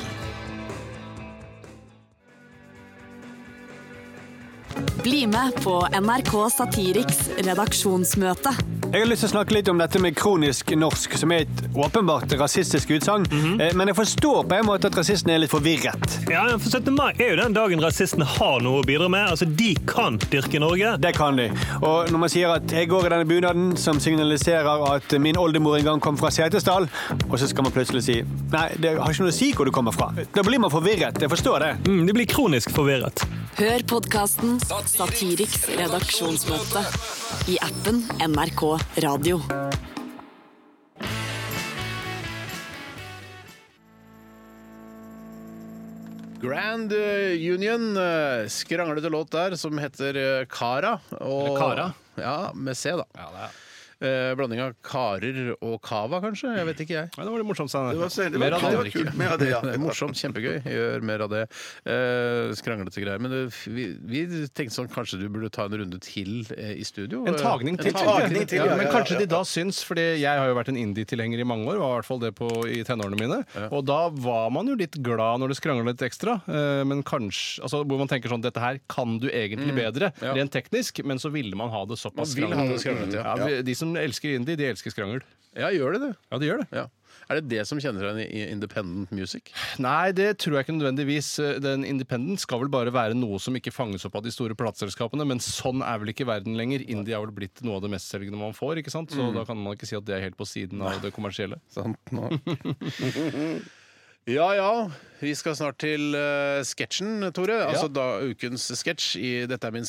Bli med på NRK Satiriks redaksjonsmøte. Jeg har lyst til å snakke litt om dette med kronisk norsk, som er et åpenbart rasistisk utsagn. Eh, Men jeg forstår på en måte at rasisten er litt forvirret.
Ja, for 17. mai er jo den dagen rasistene har noe å bidra med. Altså, De kan dyrke Norge.
Det kan de. Og når man sier at 'jeg går i denne bunaden', som signaliserer at min oldemor en gang kom fra Setesdal, og så skal man plutselig si 'nei, det har ikke noe å si hvor du kommer fra'. Da blir man forvirret. Jeg forstår det.
Mm, de blir kronisk forvirret.
Hør podkasten Satiriks redaksjonsmøte i appen NRK Radio.
Grand eh, Union, eh, skranglete låt der, som heter eh, Kara. og-
Eller Kara.
Ja, med C, da. Eh, blanding av karer og cava, kanskje? Jeg vet ikke, jeg.
Ja, det var litt morsomt. Steiner.
Det var, det var,
Mer av det.
det var kult. Mer av det, ja.
Det er morsomt, kjempegøy. Gjør mer av det. Eh, skranglete greier. Men det, vi, vi tenkte sånn kanskje du burde ta en runde til eh, i studio?
En tagning til.
En
tenker jeg.
tagning til,
ja,
ja,
men
ja,
kanskje de da syns, fordi jeg har jo vært en indie-tilhenger i mange år, var i hvert fall det på, i tenårene mine, og da var man jo litt glad når det skrangla litt ekstra, eh, men kanskje altså, Hvor man tenker sånn Dette her kan du egentlig bedre,
Mm. ja.
rent teknisk, men så ville man ha det såpass
Man vil ha det skranglete, ja.
Ja, vi- De som elsker indie, de elsker skrangel.
Ja, gjør det det?
Ja, de gjør det.
Ja. Er det det som kjennetegner i- i independent music?
Nei, det tror jeg ikke nødvendigvis. Eh, Den independent skal vel bare være noe som ikke fanges opp av de store plateselskapene, men sånn er vel ikke verden lenger. Indie er vel blitt noe av det mestselgende man får, ikke sant?
Mm.
så da kan man ikke si at det er helt på siden av det kommersielle.
Sant nå. Ja ja, vi skal snart til eh, sketsjen, Tore. Altså da ukens sketsj i Dette er min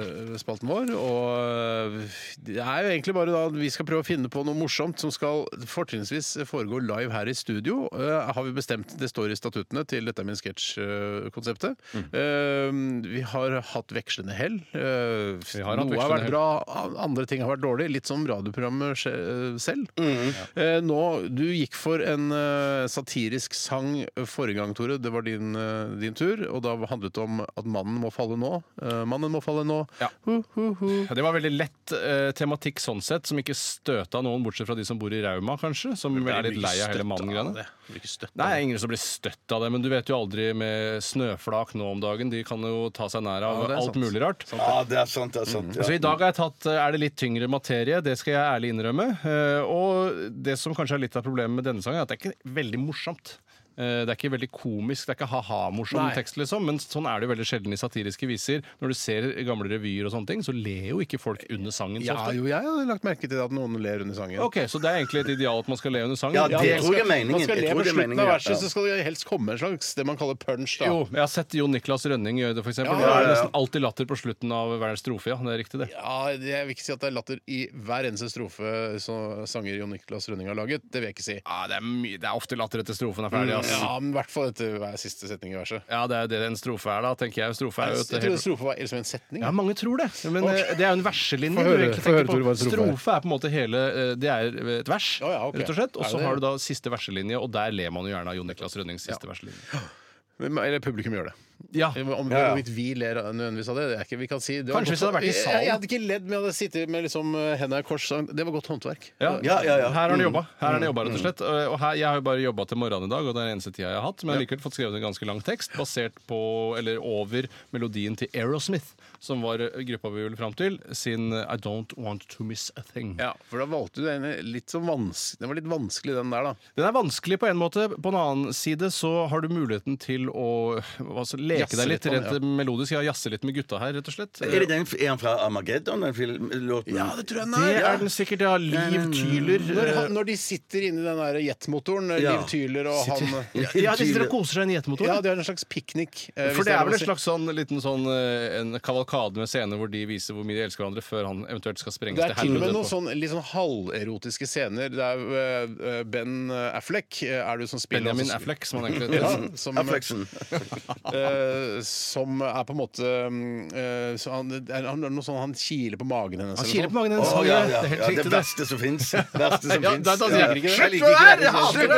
sketsj-spalten vår. Og eh, det er jo egentlig bare da vi skal prøve å finne på noe morsomt som skal fortrinnsvis foregå live her i studio. eh, har vi bestemt. Det står i statuttene til Dette er min sketsj-konseptet.
Mm.
Eh, vi har hatt vekslende hell. Eh,
har
noe har
hatt vekslende
vært
hell.
bra bra, andre ting har vært dårlig. Litt som radioprogrammet sj- eh, selv.
Mm.
Eh, Nå, Du gikk for en eh, satirisk sang forrige gang, Tore. Det var din, eh, din tur. Og da handlet det om at mannen må falle nå. Eh, Mannen må falle nå.
Ja.
Hu, hu, hu.
Ja, Det var veldig lett eh, tematikk sånn sett, som ikke støta noen, bortsett fra de som bor i Rauma, kanskje. Som er litt lei av hele mannen-greiene. Nei, det er ingen som blir støtt av det, men du vet jo aldri med snøflak nå om dagen. De kan jo ta seg nær av
Ja, det er
alt
sant.
mulig rart.
Ja, det er sant, det er sant.
Så
Ja.
I dag har jeg tatt, eh, er det litt tyngre materie, det skal jeg ærlig innrømme. Eh, Og det som kanskje er litt av problemet med denne sangen, er at det er ikke veldig morsomt. Eh, Det er ikke veldig komisk, det er ikke ha-ha-morsom
Nei.
tekst, liksom. Men sånn er det jo veldig sjelden i satiriske viser. Når du ser gamle revyer og sånne ting, så ler jo ikke folk under sangen så
Ja,
ofte.
jo, jeg har lagt merke til at noen ler under sangen.
Ok, Så det er egentlig et ideal at man skal le under sangen?
Ja, det
jeg
tror jeg er
skal-
meningen.
Man skal
Jeg
le
tror
på
det er
slutten
meningen,
av
ja.
verset, så skal det helst komme en slags det man kaller punch. da.
Jo, jeg har sett Jon Niklas Rønning gjøre det, f.eks. Ja,
ja,
Det er nesten alltid latter på slutten av hver strofe, ja. Det er riktig, det.
Ja, det- Jeg vil ikke si at det er latter i hver eneste strofe som sanger Jon Niklas Rønning har laget. Det vil jeg ikke si.
Ja, det, er mye, det er ofte latter etter strofen er ferdig,
Mm.
ass.
Ja, men i hvert fall etter hver siste setning i verset.
Ja, det er det en strofe er, da, tenker jeg. Strofe er jo
Jeg
et
trodde
helt...
strofe var liksom en setning.
Ja, mange tror det, men
Ok.
eh, det er jo en verselinje.
Få høre-
du egentlig
få høre,
tenker på.
Tore, hva en strofe er.
strofe er på en måte hele eh, Det er et vers,
Å ja, ok.
rett og slett.
Er
Og så
det-
har du da siste verselinje, og der ler man jo gjerne av Jon Niklas Rønnings siste verselinje.
Men- Eller publikum gjør det.
Ja,
Om Hvorvidt vi ler nødvendigvis av det, det er ikke, vi kan si det var
Kanskje hvis det hadde vært i
Jeg-
salen.
Jeg, hadde ikke ledd, men jeg hadde sittet med liksom, eh, hendene i kors. sånn, Det var godt håndverk.
Ja,
Ja, ja, ja.
Her har han jobba, her har
Mm.
han jobba, rett og slett. Og her, jeg har jo bare jobba til morgenen i dag, og det er den eneste tida jeg har hatt. Men jeg har likevel fått skrevet en ganske lang tekst basert på, eller over, melodien til Aerosmith, som var eh, gruppa vi ville fram til, sin eh, I Don't Want To Miss A Thing.
Ja, for da valgte du den litt sånn vanskelig Den var litt vanskelig, den der, da.
Den er vanskelig på en måte. På en annen side så har du muligheten til å altså, leke
Jazze
deg
litt
litt
på den,
rent melodisk. Ja, jazze litt med gutta her, rett og slett.
Er, det den, er han fra Armageddon, den film- låten? Ja, det tror jeg
Det er den sikkert, ja. Liv Tyler. eh,
Når, han- når de sitter inni den der jetmotoren, eh,
Ja.
Liv Tyler og han eh,
Ja, de sitter og koser seg i en jetmotor.
Ja, de har en slags piknik. eh, hvis
For det
er
er
lov å
vel en
si.
slags sånn liten sånn eh, En kavalkade med scener hvor de viser hvor mye de elsker hverandre, før han eventuelt skal sprenges
Det er til og med
helvete
noen
etterpå.
sånn, litt sånn halverotiske scener. Det er eh, eh, Ben Affleck eh, er du som spiller
Benjamin
altså-
Affleck, som han egentlig
Ja,
heter.
som,
Affleksen.
eh, som er på en måte mm, eh, så han, det er, han, er noe sånn, han kiler på magen hennes.
Han
eller
kiler
noe
på magen
Å,
hennes.
ja, ja,
Det
ja,
er helt
det
riktig, det.
verste som fins. Verste som
Ja,
fins.
da- da liker ikke det.
Jeg liker
Slutt med
ikke
det her, jeg hater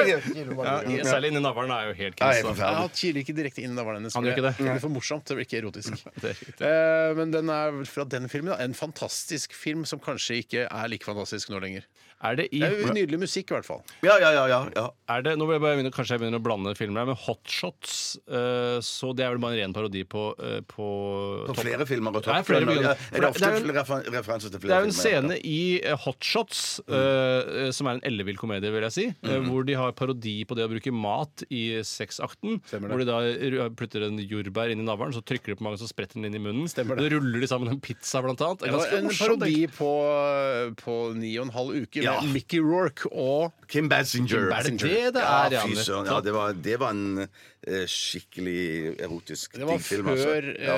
det.
Ja, særlig inni navlen er jo
Nei, jeg er
helt krise.
sånt. Nei,
forferdelig.
han kiler ikke direkte inn i navlen hennes.
Han gjør
for
ikke det.
Det blir for morsomt. Det blir ikke erotisk.
Det er riktig.
Eh, men den er fra den filmen. Da. En fantastisk film som kanskje ikke er like fantastisk nå lenger.
Er det i
Det er jo nydelig musikk, i hvert fall.
Ja, ja, ja, ja, ja.
er det, nå vil jeg bare begynne, Kanskje jeg begynner å blande filmer her, men Hotshots eh, så Det det er vel bare en ren parodi på, eh, på,
På
Top-
flere filmer og
Nei, flere
Gun, og-
filmer.
ja, Er det
For det
ofte
er jo-
refer- referanser til flere
Det er jo en
filmer?
scene i eh, Hot Shots,
Mm.
eh, eh, som er en ellevill komedie, vil jeg si, eh, hvor de har parodi på det å bruke mat i sexakten.
Stemmer det.
Hvor de da eh, ru- putter en jordbær inn i navlen, så trykker de på mange, så spretter den inn i munnen.
Stemmer
Da
det.
ruller de sammen en pizza, blant annet. Det er
Det var
ganske
en
morsomt,
parodi
egentlig.
på, på ni og en halv uke
Ja.
med Mickey Rourke og
Kim Basinger.
Kim Basinger. Er det det det er,
ja, fy
Janne?
søren. Ja, det var, det var en eh, skikkelig erotisk
Det var
digg film,
før,
altså. Ja.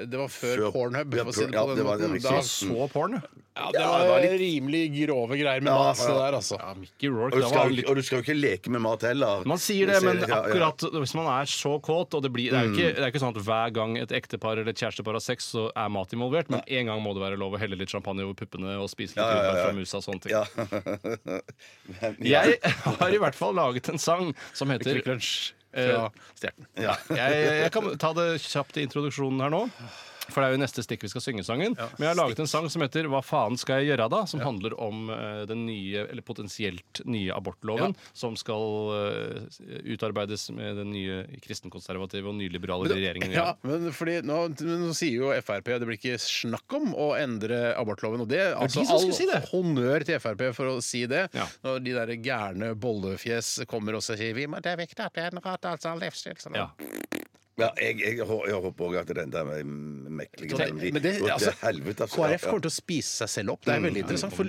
eh, det var før,
Før-
Pornhub.
Ja,
for å si det
ja,
på
det
den
var det
måten.
riktig.
Da,
Jeg så porn, jeg.
ja, det
det var
var
litt-
rimelig grove greier med
Ja,
mat.
ja,
Det
ja.
der, altså.
Ja, Mickey
Og
Rourke,
du,
da var
skal,
han
jo
litt
ikke- og du skal jo ikke leke med mat heller.
Man sier det,
Du ser
men
ja, Mm. ja.
akkurat hvis man er så kåt, og det, blir, det, er jo ikke, det er ikke sånn at hver gang et ektepar eller et kjærestepar har sex, så er mat involvert, men en gang må det være lov å helle litt champagne over puppene og spise litt
Ja, ja, ja,
jordbær
ja.
fra musa og sånne ting.
Ja. Men- ja.
Jeg har i hvert fall laget en sang som heter
Kvikk Lunsj
Eh,
fra Stjerten.
ja, jeg, jeg kan ta det kjapt i introduksjonen her nå. For det er jo neste stikk vi skal synge sangen. Men jeg har laget en sang som heter 'Hva faen skal jeg gjøre da?' Som handler om eh, den nye, eller potensielt nye abortloven som skal eh, utarbeides med den nye kristenkonservative og nyliberale regjeringen. i
Ja,
Iran.
men fordi nå, nå sier jo Frp at det blir ikke snakk om å endre abortloven. Og det, altså,
de som
all
skulle si det.
honnør til Frp for å si det.
Ja.
Når de der gærne bollefjes kommer og sier vi må det er viktig at vi endrer altså livsstil. Sånn.
Ja.
Ja, jeg, jeg, hå- jeg håper òg at den der med meklige
Men
melodi
det,
går Sånn, til
altså,
helvete, altså.
KrF
Ja, Mm,
kommer til å spise seg selv opp. Det er veldig interessant. For,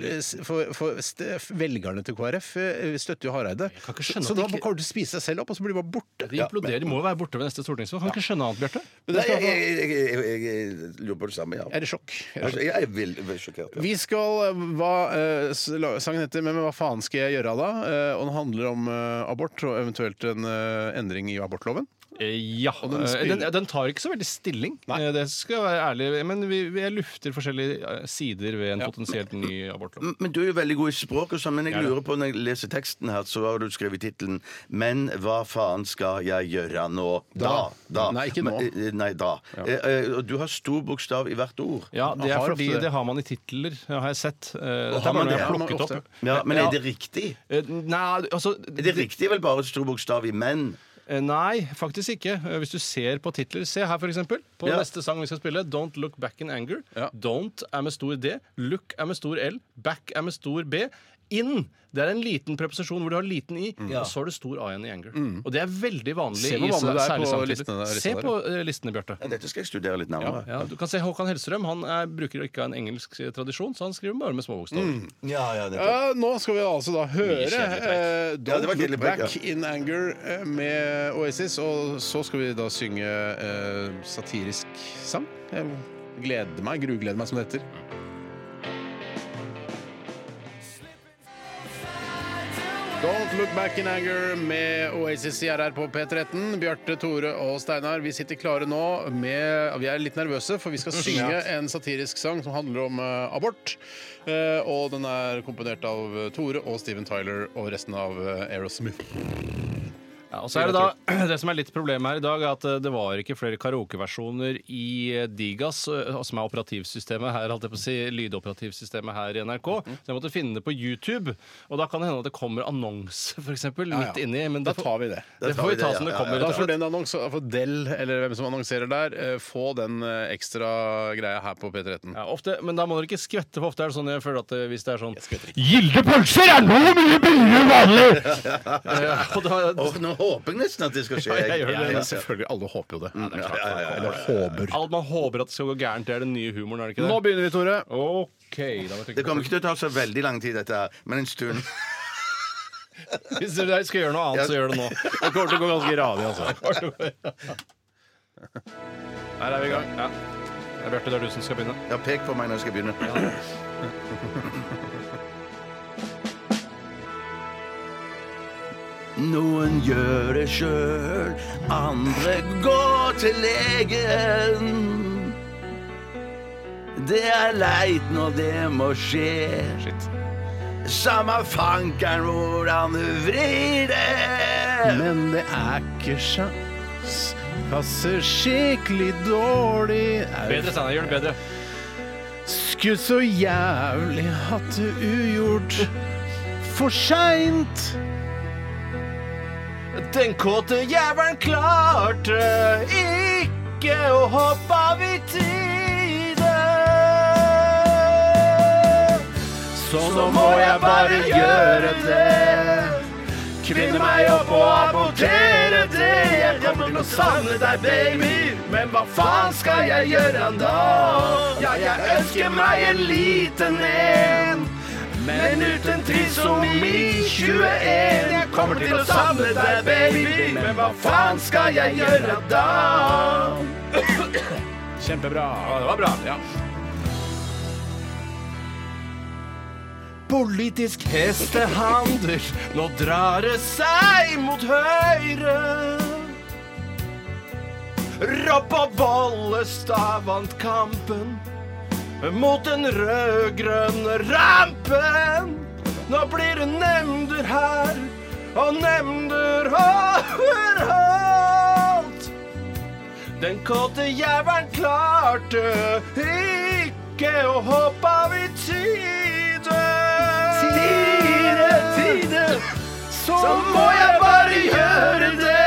for, for st- velgerne til KrF eh, støtter jo Hareide.
kan ikke
Så
skjønne
så
at de
nå
ikke-
kommer de til å spise seg selv opp, og så blir de bare borte.
De imploderer, de må jo være borte ved neste stortingsvalg. Kan ikke skjønne annet, Bjarte.
ja. Nei, jeg, jeg, jeg, jeg, jeg lurer på det samme, ja.
Er det sjokk? Er det sjokk?
Altså, Jeg er veldig, veldig sjokkert. Ja.
Vi skal eh, hva, eh, s- la- Sangen heter 'Men hva faen skal jeg gjøre da?' Eh, og den handler om eh, abort og eventuelt en eh, endring i abortloven.
Eh, Ja.
den
eh,
spiller-
Den, den tar ikke så veldig stilling, Eh, det skal jeg være ærlig. Men vi, vi lufter forskjellige eh, sider ved en potensielt ny abortlov.
Men du er jo veldig god i språk, og sånn, men jeg lurer på når jeg leser teksten her, så har du skrevet tittelen 'Men hva faen skal jeg gjøre nå?' Da. da.
Nei, ikke nå.
Men, eh, Nei, da. Eh, eh, Og du har stor bokstav i hvert ord.
Ja, det er
har
fordi
ofte det.
det har man i titler, ja, har jeg sett. Eh, Dette
har
er bare
man
noe
det?
jeg har
Ja,
plukket
man-
opp.
Ja, men
Ja.
er det riktig?
Eh, Nei, altså
Er det riktig vel bare stor bokstav i 'men'?
eh, Nei, faktisk ikke. Eh, Hvis du ser på titler Se her, for eksempel. På
Ja.
neste sang vi skal spille, Don't Look Back in Anger.
Ja.
Don't er med stor D. Look er med stor L. Back er med stor B. In det er en liten preposisjon hvor du har liten i, og så har du stor A igjen i anger.
Mm.
Og det er veldig vanlig.
Mm. Se hvor vanlig
i,
det er på
særlig samtider.
listene der,
Se
listene
på eh, listene, Bjarte.
Ja, Dette skal jeg studere litt nærmere.
Ja, du kan se Håkan Hellstrøm. Han er, bruker ikke en engelsk eh, tradisjon, så han skriver bare med små bokstaver.
Mm. Ja, ja, dette.
Ja, nå skal vi altså da høre
kjedelig
eh,
pek.
Ja,
Don't
det var kjedelig
Look
pek,
Back in Anger eh, med Oasis. Og så skal vi da synge eh, satirisk sang. Jeg gleder meg, grugleder meg, som det heter. Don't Look Back in Anger med Oasis i RR på P13. Bjarte, Tore og Steinar, vi sitter klare nå med Vi er litt nervøse, for vi skal synge en satirisk sang som handler om eh, abort. Eh, og den er komponert av eh, Tore og Steven Tyler og resten av eh, Aerosmith.
Ja, og så er det da Det som er litt problemet her i dag, er at eh, det var ikke flere karaokeversjoner i eh, Digas, eh, som er operativsystemet her, holdt jeg på å si, lydoperativsystemet her i NRK.
Mm-hmm.
Så jeg måtte finne det på YouTube. Og da kan det hende at det kommer annonse, f.eks.,
ja.
midt inni. Men
Da
det
tar vi det.
Da
Det
tar
får
vi
vi ta
det,
som det
ja, ja, ja.
kommer.
Da
rett og
får
slett.
den annonser, for Del, eller hvem som annonserer der, eh, få den eh, ekstra greia her på P13.
Ja, ofte, men da må dere ikke skvette, for ofte er det sånn jeg føler at eh, hvis det er sånn Gilde pølser er noe mye billigere enn vanlig! Eh, og da,
Åh, nå håper jeg nesten at det skal skje.
jeg gjør det,
Ja,
ja.
selvfølgelig. Alle håper jo det.
Ja, ja, ja, ja.
Eller håper.
alt man håper at det skal gå gærent, det er den nye humoren, er det ikke det?
Nå begynner vi, Tore.
OK, da må jeg
Det
trykke på
kommer ikke til å ta så veldig lang tid, dette her, men en stund.
Hvis dere skal gjøre noe annet, så gjør det nå.
Det kommer til å gå ganske radig, altså.
Her er vi i gang. Ja. Det er Bjarte, det er du som skal begynne.
Ja, pek på meg når jeg skal begynne. Noen gjør det sjøl, andre går til legen. Det er leit når det må skje. Samme fankeren hvordan du vrir det.
Men det er ikke sjans Passer skikkelig dårlig
Bedre, Steinar. Gjør det bedre.
Skutt så jævlig Hatt det ugjort For sent
Den kåte jævelen klarte
ikke å hoppe av i tide. Så nå må jeg bare gjøre det. Kvinne meg opp og abortere det. Jeg kommer til å savne deg, baby. Men hva faen skal jeg gjøre da? Ja, jeg ønsker meg en liten en. Men uten trisomi 21 Jeg kommer til å savne deg, baby Men hva faen skal jeg gjøre da?
Kjempebra.
det var bra Politisk hestehandel Nå drar det seg mot høyre Ropp og Bollestad vant kampen mot den rød-grønne rampen. Nå blir det nemnder her og nemnder overalt. Den kåte jævelen klarte ikke å hoppe av i tide. Tide, tide. Så må jeg bare gjøre det.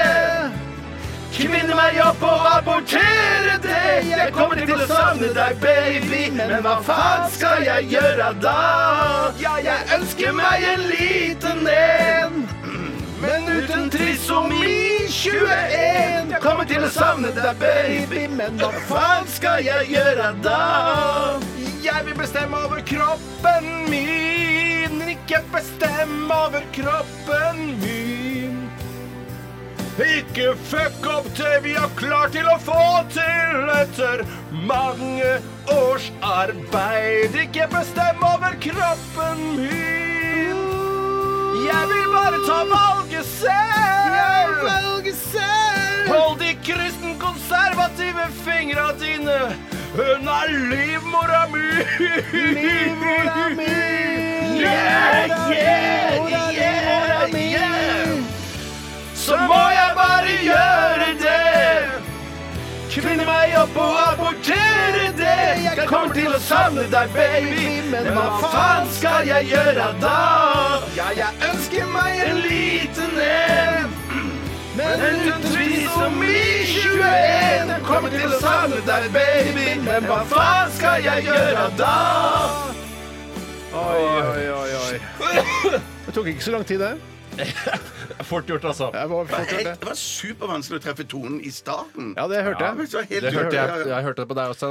Kvinne meg opp og abortere det. Jeg kommer til å savne deg, baby. Men hva faen skal jeg gjøre da? Ja, jeg ønsker meg en liten en. Men uten trisomi 21 Jeg kommer til å savne deg, baby Men hva faen skal jeg gjøre da? Jeg vil bestemme over kroppen min Ikke bestemme over kroppen min ikke fuck opp det vi har klart til å få til etter mange års arbeid. Ikke bestem over kroppen min. Jeg vil bare ta valget selv. Hold de kristen-konservative fingra dine unna livmora mi. Livmora mi. Yeah, yeah, yeah, yeah så må jeg bare gjøre det. Kvinne meg opp og abortere det. Jeg kommer til å savne deg, baby, men hva faen skal jeg gjøre da? Ja, jeg ønsker meg en liten en. Men uten tvil som i 21 Jeg kommer til å savne deg, baby, men hva faen skal jeg gjøre da?
Oi, oi, oi. Det tok ikke så lang tid, det.
Fort gjort, altså.
Jeg var fort gjort, det.
var supervanskelig å treffe tonen i starten.
Ja, det hørte jeg.
Det hørte jeg, jeg hørte det på deg også,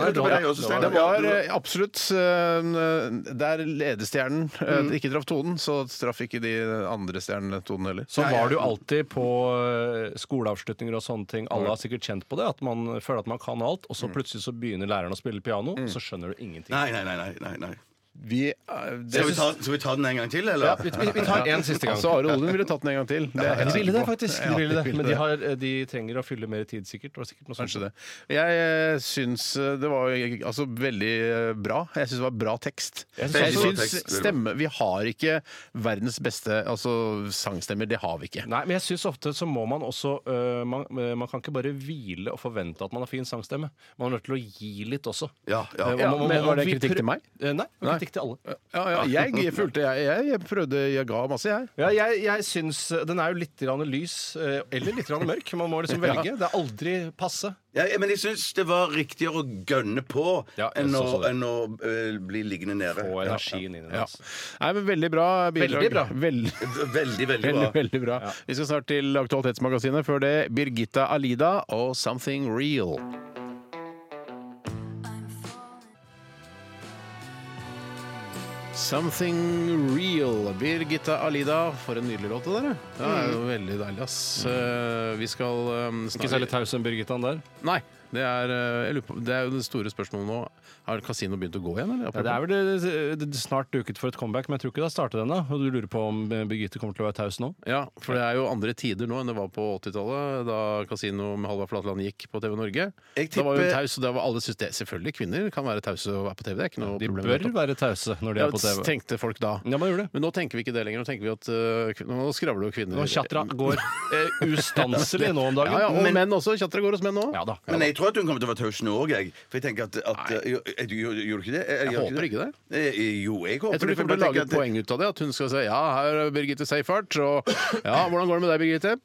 Steinar.
Det var eh, absolutt eh, Der ledestjernen eh,
Mm.
ikke traff tonen, så traff ikke de andre stjernene tonen heller.
Så var det jo alltid på eh, skoleavslutninger og sånne ting. Alle har sikkert kjent på det, at man føler at man kan alt, og så plutselig så begynner læreren å spille piano, og så skjønner du ingenting.
Nei, nei, nei. nei, nei, nei.
Vi, eh, det
Skal, vi ta, skal vi ta den en gang til, eller?
Ja, vi, vi, vi tar én siste gang.
Altså, Are Odin ville tatt den en gang til. Det er jeg helt
De ville
sikker
det,
på.
faktisk.
Ja,
De ville det.
ville
Men de,
det.
har, eh, de trenger å fylle mer tid, sikkert. Det var sikkert noe sånt.
Kanskje det. Jeg eh, syns eh, det var eh, altså veldig eh, bra. Jeg syns det var bra tekst.
Jeg
Jeg
synes også-
bra tekst,
syns
veldig bra.
stemme Vi har ikke verdens beste altså, sangstemmer. Det har vi ikke.
Nei, men jeg syns ofte så må man også øh, man, øh, man kan ikke bare hvile og forvente at man har fin sangstemme. Man er nødt til å gi litt også.
Ja, ja.
Eh, og
Ja,
man- man-
men var det
vi
kritikk
prøv-
til meg?
Eh, Nei, det var kritikk til alle.
Ja, ja, jeg, jeg fulgte jeg, jeg, jeg prøvde, jeg ga masse, jeg.
Ja, jeg, jeg syns eh, Den er jo litt grann lys, eh, eller litt grann mørk. Man må liksom velge. Det er aldri passe.
Ja, men jeg syns det var riktigere å gønne på
Ja, jeg
enn, å,
synes også det.
enn å øh, bli liggende nede.
Få energien inn i det.
Ja.
altså.
Nei, men veldig bra bidrag.
Veldig bra.
Veldig,
Veldig, veldig
veldig,
bra.
veldig bra. Vi skal snart til Aktualitetsmagasinet. Før det Birgitta Alida og Something Real. Something Real. Birgitta Alida. For en nydelig låt det der. ja. Det er jo veldig deilig, ass. Eh, Vi skal eh,
Mm. Ikke
snart
særlig taus enn Birgittan der.
Nei. Det er, eh, jeg lurer på, det er jo det store spørsmålet nå. Har kasino begynt å gå igjen, eller?
Ja, det er vel eh, det- det- snart duket for et comeback, men jeg tror ikke det har startet ennå. Og du lurer på om eh, Birgitte kommer til å være taus nå?
Ja, for det er jo andre tider nå enn det var på 80-tallet, da Kasino med Halvard Flatland gikk på TV Norge.
Jeg
Da var hun
tipper-
taus, og da var alle synes det. Selvfølgelig, kvinner kan være tause og være på TV, det er ikke noe
De
problem.
bør være tause når de er på
Ja,
TV.
tenkte folk da.
Ja, man gjør det.
Men nå tenker vi ikke det lenger. Nå tenker vi at øh, kvin- Nå skravler jo kvinner.
Og Chatra går eh, ustanselig nå om dagen.
Ja, ja, og menn også. Chatra går hos menn nå.
Ja da.
Men jeg tror at hun kommer til å være taus nå òg, jeg. For jeg tenker at, at jo, eh, du- Gjorde du ikke det? Jeg,
håper ikke det.
Jo, jeg håper
Jeg tror de
for da
kommer til å lage
tenker
et
jeg at-
poeng ut av det. At hun skal si ja, her er Birgitte Seifert, og ja, hvordan går det med deg, Birgitte?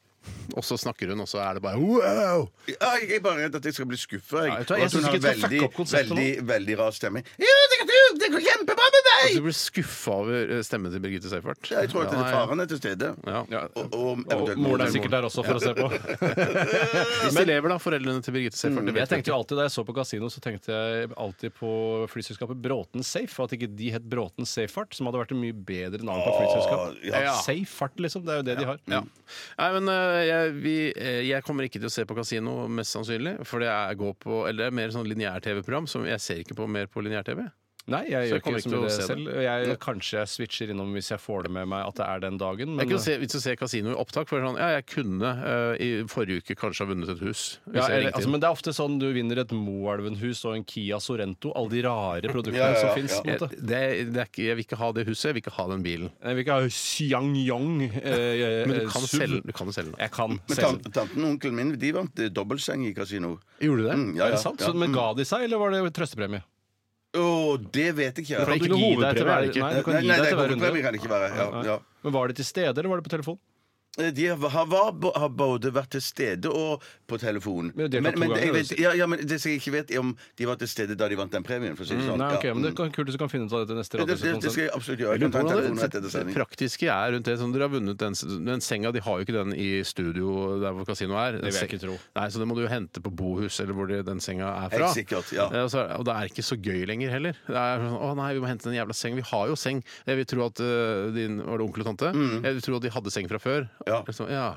Og så snakker hun, og så er det bare wow!
Ja, jeg er bare redd at jeg skal bli skuffa.
Ja,
Jeg,
vet du
Og at
hva, jeg
hun har
synes ikke jeg skal
veldig,
fucke opp konseptet nå.
veldig, veldig rar stemme. Ja, det går, det går kjempebra med deg!
Du blir skuffa over eh, stemmen til Birgitte Seifert.
Jeg tror at det er
Altså, Ja,
faren er til stede.
Ja. Ja.
Og, og
Og
eventuelt
moren
moren.
er sikkert der også for å se på.
Hvis de lever, da, foreldrene til Birgitte Seifert. det
Mm, Jeg
vet vi
tenkte jo alltid, Da jeg så på Casino, så tenkte jeg alltid på flyselskapet Bråten Safe. og At ikke de het Bråten Safefart, som hadde vært en mye bedre navn på flyselskap.
ja.
Ja. Safefart, liksom. Det er jo det de har.
Ja. Nei, men eh, jeg, vi, eh, jeg kommer ikke til å se på Casino, mest sannsynlig. For det er, går på, eller det er mer sånn lineær-TV-program som jeg ser ikke på mer på lineær-TV.
Nei,
Så
jeg
jeg
gjør
kommer
ikke
ikke
så
til å
mye det
se det.
selv. Jeg, kanskje jeg switcher innom hvis jeg får det med meg at det er den dagen.
Jeg
Men, eh,
kunne se, hvis du ser Casino i opptak, for det er sånn, ja, jeg kunne eh, i forrige uke kanskje ha vunnet et hus. Hvis
ja,
jeg
eller,
ringte
altså,
inn.
men det er ofte sånn du vinner et Moelven-hus og en Kia Sorento. Alle de rare produktene
Ja, ja, ja,
som
ja.
fins. på en måte.
jeg, det, det er ikke, jeg vil ikke ha det huset, jeg vil ikke ha den bilen.
Jeg vil ikke ha Xiangyong eh,
Men du
eh,
kan
SUV.
selge, du kan jo selge den.
Jeg kan
Men
selge
tan- tanten og onkelen min de vant eh, dobbeltseng i kasino.
Gjorde du det?
Mm, ja,
er
ja,
det sant?
ja.
Så, men ga de seg, eller var det trøstepremie?
Å, det vet jeg ikke.
det
For du
er
kan
ikke
gi deg til
hovedpremie, er det
hver-
ikke?
Nei, du kan
Nei,
gi
nei,
deg
nei,
til hver runde.
hovedpremie kan det ikke være. Ja,
Nei.
ja. Eh,
Men Var de til stede, eller var det på telefon?
De har, har, var- har både vært til stede og på telefon.
Men det er klart to ganger,
jeg
det
vet, ja, ja, men det som jeg ikke vet, er om de var til stede da de vant den premien. For å si det sånn.
Nei,
Ja,
ok, men Det
mm.
kan kult hvis du kan finne ut av det til neste
det, det, det skal
radiosesjon.
jeg absolutt gjøre. Jeg
Jeg
kan ta en
lurer
telefon
på
rett
hvordan
etter
det, det
sending.
praktiske er rundt det. Sånn, dere har vunnet den, den senga, de har jo ikke den i studio der hvor kasino er.
Det vil jeg ikke tro.
Nei, Så det må du jo hente på bohus eller hvor det, den senga er fra.
Helt sikkert, ja.
Eh, og så er- og det er ikke så gøy lenger heller. Det er sånn, å nei, vi må hente den jævla sengen. Vi har jo seng. Jeg vil tro at eh, din Var det onkel og tante? Jeg vil tro at de hadde seng fra før.
Mm. Ja.
Så, ja.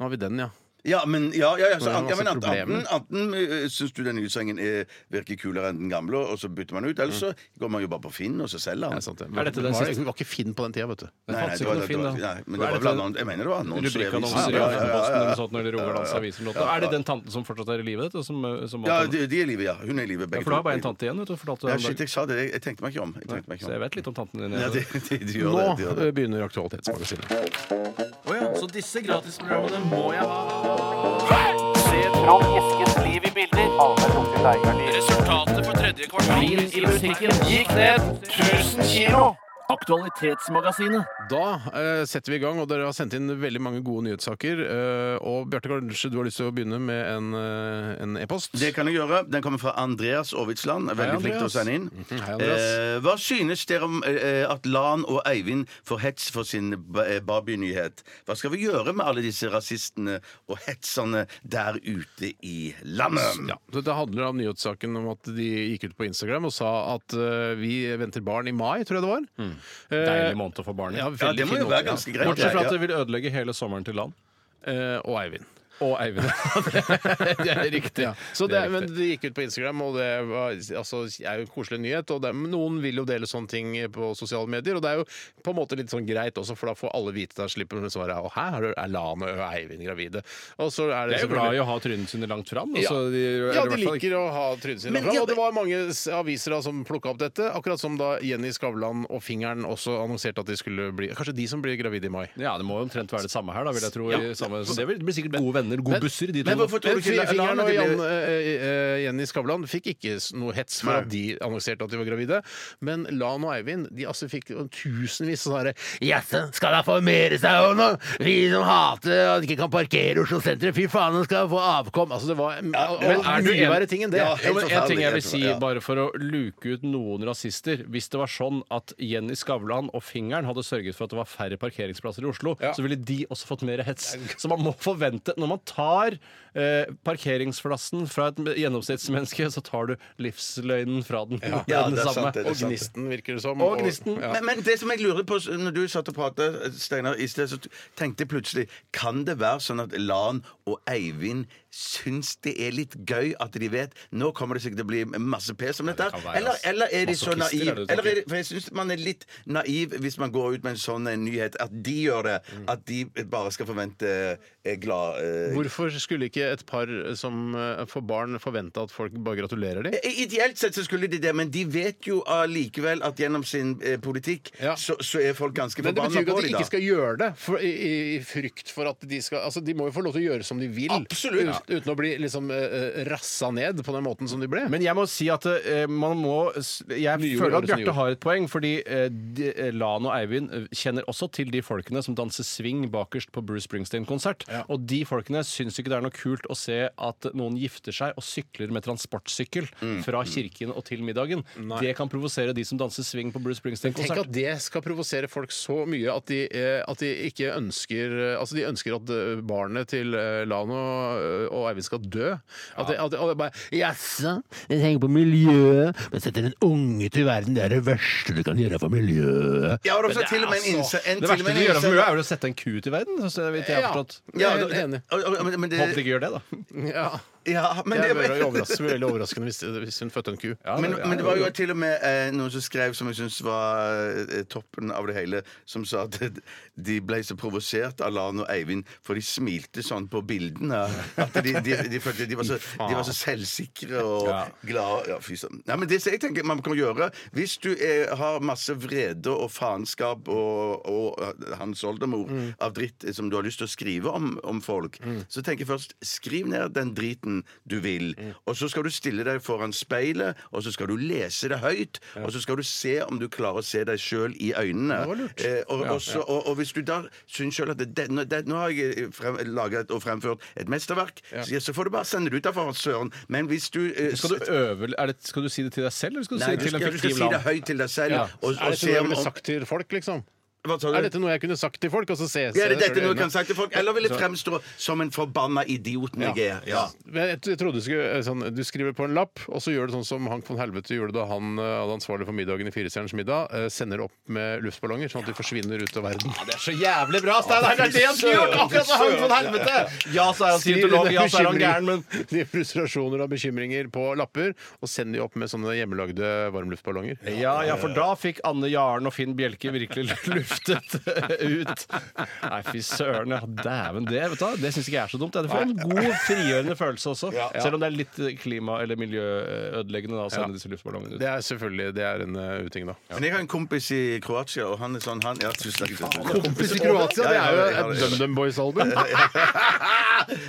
Nå har vi den, ja.
Ja, men, ja, ja, ja, så,
Men
an- ja,
det er masse
men ant-
problemer.
enten, enten øh, syns du den nye sengen er, virker kulere enn den gamle, og så bytter man ut, eller så går man jo bare på Finn, og så selger han.
Det er sant, det.
Er dette den
var,
siste-
var ikke Finn på den tida, vet du.
Det fantes
det
ikke
var-
noe
det
fin,
var-
da.
nei, men det
Hva er
var
dette?
blant annet Jeg mener det var annonser i
Rubrikkannonser i
avisen. Ja, ja, ja, ja,
Aftenposten
ja.
eller noe sånt, når det Rogalands Aviser eller noe. Er det den tanten som fortsatt er i live? dette, Som, eh, som
Ja, de, de er i live, ja. Hun er i live,
Ja,
begge
for du har bare en tante igjen, vet du. Fortalte du
Ja,
om
shit, jeg
dagen.
sa det. Jeg, jeg tenkte meg ikke om. Jeg tenkte meg
Så
ikke om.
jeg vet litt om tanten din.
Ja,
jeg.
det, det, du gjør
Nå
det, du gjør det.
eh, begynner Aktualitetsmagasinet. Da eh, setter vi i gang, og dere har sendt inn veldig mange gode nyhetssaker. Eh, og Bjarte, kanskje du har lyst til å begynne med en, eh, en e-post?
Det kan jeg gjøre. Den kommer fra Andreas Aavitsland. Veldig flink til å
Andreas. Mhm,
sende inn.
Hei, Andreas.
Eh, hva synes dere om eh, at Lan og Eivind får hets for sin ba- eh, Barbie-nyhet? Hva skal vi gjøre med alle disse rasistene og hetserne der ute i landet?
Ja, Dette handler om nyhetssaken om at de gikk ut på Instagram og sa at eh, vi venter barn i mai, tror jeg det var.
Mm.
Eh,
Deilig måned å få barn i.
ja,
Ja,
veldig
det må
fin
jo
måte,
være
ja.
ganske greit.
Bortsett fra at
Ja,
det vil ødelegge hele sommeren til land.
Eh, og Eivind.
Og Eivind. det er riktig.
Ja. Så det,
Det er
men
riktig.
de gikk ut på Instagram, og det var, altså, er jo en koselig nyhet. Og det, men noen vil jo dele sånne ting på sosiale medier, og det er jo på en måte litt sånn greit også, for da får alle vite det. Da slipper de svaret Å, her er Lane og Eivind gravide. Og så er det
De er jo glad i å ha trynene sine langt fram. og
Ja.
så de,
ja, de
eller i hvert fall ikke-
liker å ha trynet sitt
Men
fram.
ja,
Og det var mange s- aviser da som plukka opp dette. Akkurat som da Jenny Skavlan og Fingeren også annonserte at de skulle bli Kanskje de som blir gravide i mai.
Ja, Det må jo omtrent være det samme her. da, vil jeg tro.
Ja.
i Samme, så det blir- blir sikkert gode venner, gode busser, de to.
Men hvorfor tror
Men
du ikke
Fingeren
Lan
og
at de
Jan,
ble
eh, eh, Jenny Skavlan fikk ikke s- noe hets for at de annonserte at de var gravide. Men Lan og Eivind de altså fikk tusenvis av sånne Jaså, skal da få mere seg òg nå? Vi som hater at de ikke kan parkere i Oslo sentrum, fy faen, nå skal de få avkom. Altså, det var og-
Men
og
er du
mye
en-
verre ting enn det. sånn
Ja,
Ja, men
Helt
en ting
forferdelig,
jeg vil si,
helt forferdelig, ja.
bare for å luke ut noen rasister Hvis det var sånn at Jenny Skavlan og Fingeren hadde sørget for at det var færre parkeringsplasser i Oslo, så ville de også fått mer hets. Så man må forvente Når man tar eh, parkeringsplassen fra et gjennomsnittsmenneske, så tar du livsløgnen fra den.
Ja,
den
det er
samme.
sant, det er
Og
sant.
gnisten, virker det som.
Og gnisten.
ja.
Men, men det som jeg lurer på s- når du satt og pratet, Steinar, i sted, så t- tenkte jeg plutselig Kan det være sånn at Lan og Eivind syns det er litt gøy at de vet Nå kommer det sikkert til å bli masse pes om dette.
kan være,
Eller,
ass.
eller er de så
Masochister, er
naive?
det
Eller
du
er
tenker?
de, for jeg syns man er litt naiv hvis
Mm.
man går ut med en sånn eh, nyhet at de gjør det. At de bare skal forvente eh, glad, eh,
Hvorfor skulle ikke et par som eh, får barn, forvente at folk bare gratulerer dem?
Ideelt sett så skulle de det, men de vet jo allikevel at gjennom sin eh, politikk
Ja.
så, så er folk ganske
Men det betyr
forbanna
jo ikke
på
at de
dem, da.
ikke skal gjøre det, for, i, i- i frykt for at de skal Altså, de må jo få lov til å gjøre som de vil.
Absolutt.
ut- Uten å bli liksom eh, eh, rassa ned på den måten som de ble.
Men jeg må si at eh, man må s- Jeg
Nyord,
føler at
Årets nyord.
Bjarte har et poeng, fordi eh, de, eh, Lan og Eivind eh, kjenner også til de folkene som danser swing bakerst på Bruce Springsteen-konsert. Og de folkene syns ikke det er noe kult å se at noen gifter seg og sykler med transportsykkel
Mm.
fra kirken og til middagen. Det kan provosere de som danser swing på Bruce
Tenk at
Springsteen-konsert.
det skal provosere folk så mye at de, eh, at de ikke ønsker eh, Altså, de ønsker at eh, barnet til eh, Lano eh, og Eivind skal dø. At de, at de, at de bare Jaså, jeg tenker på miljøet. Men setter en unge til verden, det er det verste du kan gjøre for miljøet.
Ja, og
Men
også til og med en
altså-
innsats en,
det
til og
verste
med
de
en
gjør for
innsats-
miljøet, er vel å sette en ku til verden. Så vidt jeg har forstått.
Ja,
Ja,
jeg
og-
er helt enig.
og- og- men- men det-
Håper de ikke gjør det, da.
Ja.
Ja, men det
Det er veldig overraskende, veldig overraskende hvis, hvis hun fødte en ku.
men, men det var jo til og med eh, noen som skrev, som jeg syns var eh, toppen av det hele, som sa at de ble så provosert av Lan og Eivind, for de smilte sånn på bildene. At de, de, de følte de var så, de var så selvsikre og glade. Ja, fy søren. Nei, men det som jeg tenker man kan gjøre Hvis du er, har masse vrede og faenskap og, og hans oldemor
Mm.
av dritt eh, som du har lyst til å skrive om, om folk, så tenker jeg først skriv ned den driten du vil,
Mm.
og så skal du stille deg foran speilet, og så skal du lese det høyt, og så skal du se om du klarer å se deg sjøl i øynene. Eh, og, og, så, og, og hvis du da syns sjøl at det, det, nå- det, Nå har jeg eh, frem, laget og fremført et mesterverk, så, så får du bare sende det ut derfra, søren. Men hvis du eh,
Skal du, øve, er det, skal du si det til deg selv, eller skal du
Nei,
si
du
det til
skal,
en
du skal
fiktiv
si
Lan?
det høyt til deg selv.
Ja.
Og, og
Er dette noe
se
jeg
om,
ville
om
sagt til folk, liksom?
Hva sa du?
Er dette noe jeg kunne sagt til folk? Og så se se
Ja, det,
det
dette
selv i
er noe jeg
øynene?
kan sagt til folk. Eller vil jeg fremstå som en forbanna idioten jeg er? Ja.
Men jeg, jeg trodde du skulle eh, sånn, Du skriver på en lapp, og så gjør du sånn som Hank von Helvete gjorde da han eh, hadde ansvarlig for middagen i Firestjerners middag. eh, Sender opp med luftballonger, sånn at de forsvinner ut av verden.
Det er så jævlig bra, Steinar! Det er det han skulle gjort! Akkurat som han von helvete! Ja, så er han
Skriv
scientolog,
dine
ja, så er han
bekymringer-
gæren, men
Dine frustrasjoner og bekymringer på lapper, og send de opp med sånne hjemmelagde varmluftballonger.
ja, ja, for da fikk Anne Jaren og Finn Bjelke virkelig luftet ut. Nei, fy søren. Ja, dæven det. Vet du, hva, det syns ikke jeg er så dumt. Det får en god, frigjørende følelse også. Selv om det er litt klima- eller miljøødeleggende da, å sende disse luftballongene ut.
Det er selvfølgelig det er en eh, uting, da.
Men jeg har en kompis i Kroatia, og han er sånn han, ja, tusen takk, tusen takk.
Kompis i Kroatia, det er jo et DumDum Boys-album.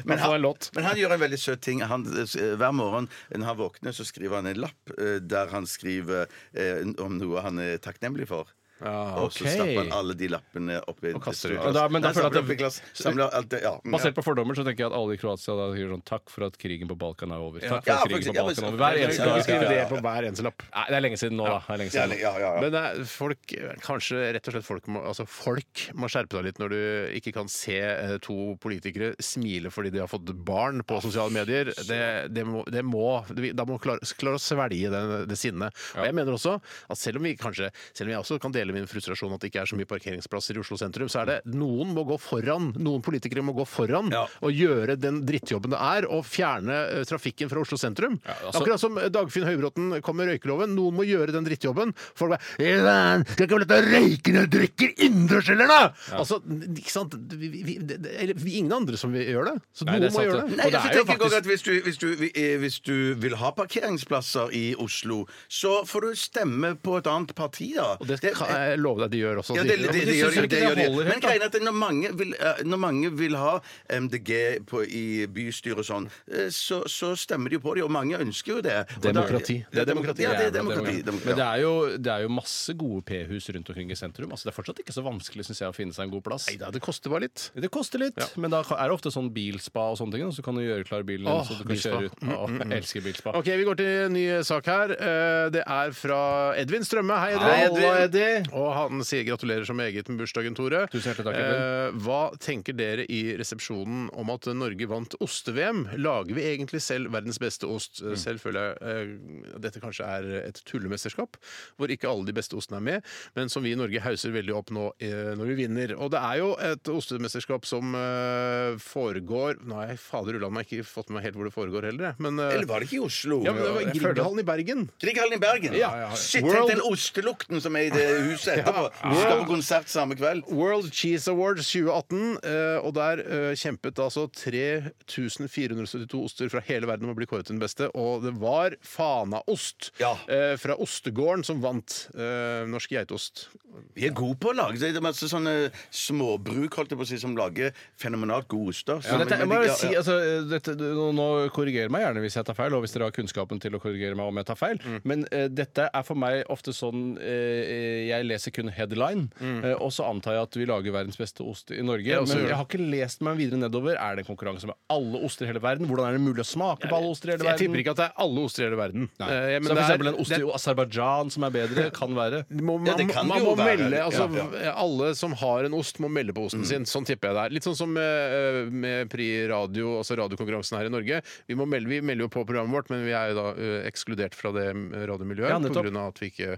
Men
få en
han,
låt.
men han gjør en veldig søt ting. Han, eh, hver morgen når han våkner, så skriver han en lapp eh, der han skriver eh, om noe han er takknemlig for. Og så
ok.
stapper han alle de lappene oppi et
kaster det ut.
stort glass.
Da- men da
Nei,
føler jeg at
stapper
det-
oppi glass. Samler alt det- ja, mm, ja.
Basert på fordommer så tenker jeg at alle i Kroatia da sier sånn takk for at krigen på Balkan er over. Takk for
Ja,
at
for eksempel-
krigen på Balkan er
ja,
over.
men-
Hver eneste
Skal
dag.
vi skrive
skal jeg-
det på hver eneste lapp?
Nei, det er lenge siden nå, da. Det er lenge
Ja,
siden. nå.
ja, ja, ja.
Men det er, folk, kanskje rett og slett folk må, altså folk må skjerpe seg litt når du ikke kan se eh, to politikere smile fordi de har fått barn på sosiale medier.
Ah,
Det, det må, det må, vi- da må vi klare, klare å svelge den, det sinnet. Og jeg mener også at selv om vi kanskje, selv om jeg også kan dele min frustrasjon at det ikke er så mye parkeringsplasser i Oslo sentrum, så er det noen må gå foran. Noen politikere må gå foran og gjøre den drittjobben det er å fjerne eh, trafikken fra Oslo sentrum.
altså-
Akkurat som eh, Dagfinn Høybråten kom med røykeloven. Noen må gjøre den drittjobben. Folk bare «Eh, man, Skal ikke være lett å røyke når du drikker innendørs, eller da?! Altså, ikke sant? Vi, vi, vi, det, eller, vi, ingen andre som vil gjøre det. Så
Nei,
noen må
det er sant,
gjøre
det.
det.
Nei, altså,
Og det
jeg
er jo
tenker jeg også
faktisk-
at hvis du, hvis, du, eh, hvis du vil ha parkeringsplasser i Oslo, så får du stemme på et annet parti, da.
Og det kan jeg love deg de gjør også.
ja, det, det, det,
synes
gjør
ikke
de- det
det
gjør de.
holder helt,
Men greia er at når mange vil, eh, når mange vil ha MDG på, i bystyret og sånn, eh, så, så stemmer de jo på det, og mange ønsker jo det. Og da-
Demokrati.
Det er demokrati. Ja, det er demokrati.
Men
demokrati.
det
Ja.
er, jo, det er jo masse gode p-hus rundt omkring i sentrum. Altså, det er fortsatt ikke så vanskelig synes jeg, å finne seg en god plass.
Neida, det koster bare litt.
Det koster litt, men da er det ofte sånn bilspa og sånne ting. da, Så kan du gjøre klar bilen din,
Åh,
så du kan
bilspa. Mm,
kjøre ut. Åh, jeg elsker bilspa.
Ok, Vi går til en ny sak her. Eh, Det er fra Edvin Strømme. Hei, Edvin. Og han sier gratulerer så meget med bursdagen, Tore.
Tusen hjertelig takk,
Eh, hva tenker dere i resepsjonen om at Norge vant oste-VM? Lager vi egentlig selv verdens beste ost?
Mm.
Eh, Selv føler jeg eh, dette kanskje er et tullemesterskap, hvor ikke alle de beste ostene er med, men som vi i Norge hauser veldig opp nå eh, når vi vinner. Og det er jo et ostemesterskap som eh, foregår Nå har jeg fader ulland meg ikke fått med meg helt hvor det foregår heller, jeg. Men, eh,
Eller var det ikke i Oslo?
ja, men det var
Jeg
i
føler-
Grieghallen i Bergen.
Grieghallen i Bergen? Shit,
World-
tenk den ostelukten som er i det huset etterpå. Du skal på konsert samme kveld.
World Cheese Awards 2018, eh, og der eh, kjempet altså 3472 oster fra hele verden om å bli kåret til den beste, og det var Fanaost
Ja.
eh, fra Ostegården som vant eh, Norsk geitost.
Vi er gode på å lage det er masse sånne småbruk holdt jeg på å si, som lager fenomenalt gode oster.
Men dette, jeg må
Men de-
bare si,
ja, ja.
altså, dette, nå- nå korrigerer meg gjerne hvis jeg tar feil, og hvis dere har kunnskapen til å korrigere meg om jeg tar feil, men eh, dette er for meg ofte sånn eh, Jeg leser kun headline, eh, og så antar jeg at vi lager verdens beste ost i Norge.
Ja, og så gjør
men
det.
jeg har ikke lest meg videre nedover. Er det en konkurranse med alle oster i hele verden? Hvordan er det mulig å smake på alle oster i hele
Jeg
verden?
tipper ikke at det er alle oster i hele verden.
Nei.
Eh, men det
så for
er-
eksempel en ost
det-
i Aserbajdsjan som er bedre, kan være.
må, man,
Ja, det kan
man
det
må
jo være.
melde altså,
Ja,
Alle som har en ost, må melde på osten sin. Sånn tipper jeg det er. Litt sånn som eh, med Pri Radio, altså radiokonkurransen her i Norge. Vi, må melde, vi melder jo på programmet vårt, men vi er jo da eh, ekskludert fra det eh, radiomiljøet.
Ja,
på
nettopp.
grunn av at vi ikke eh,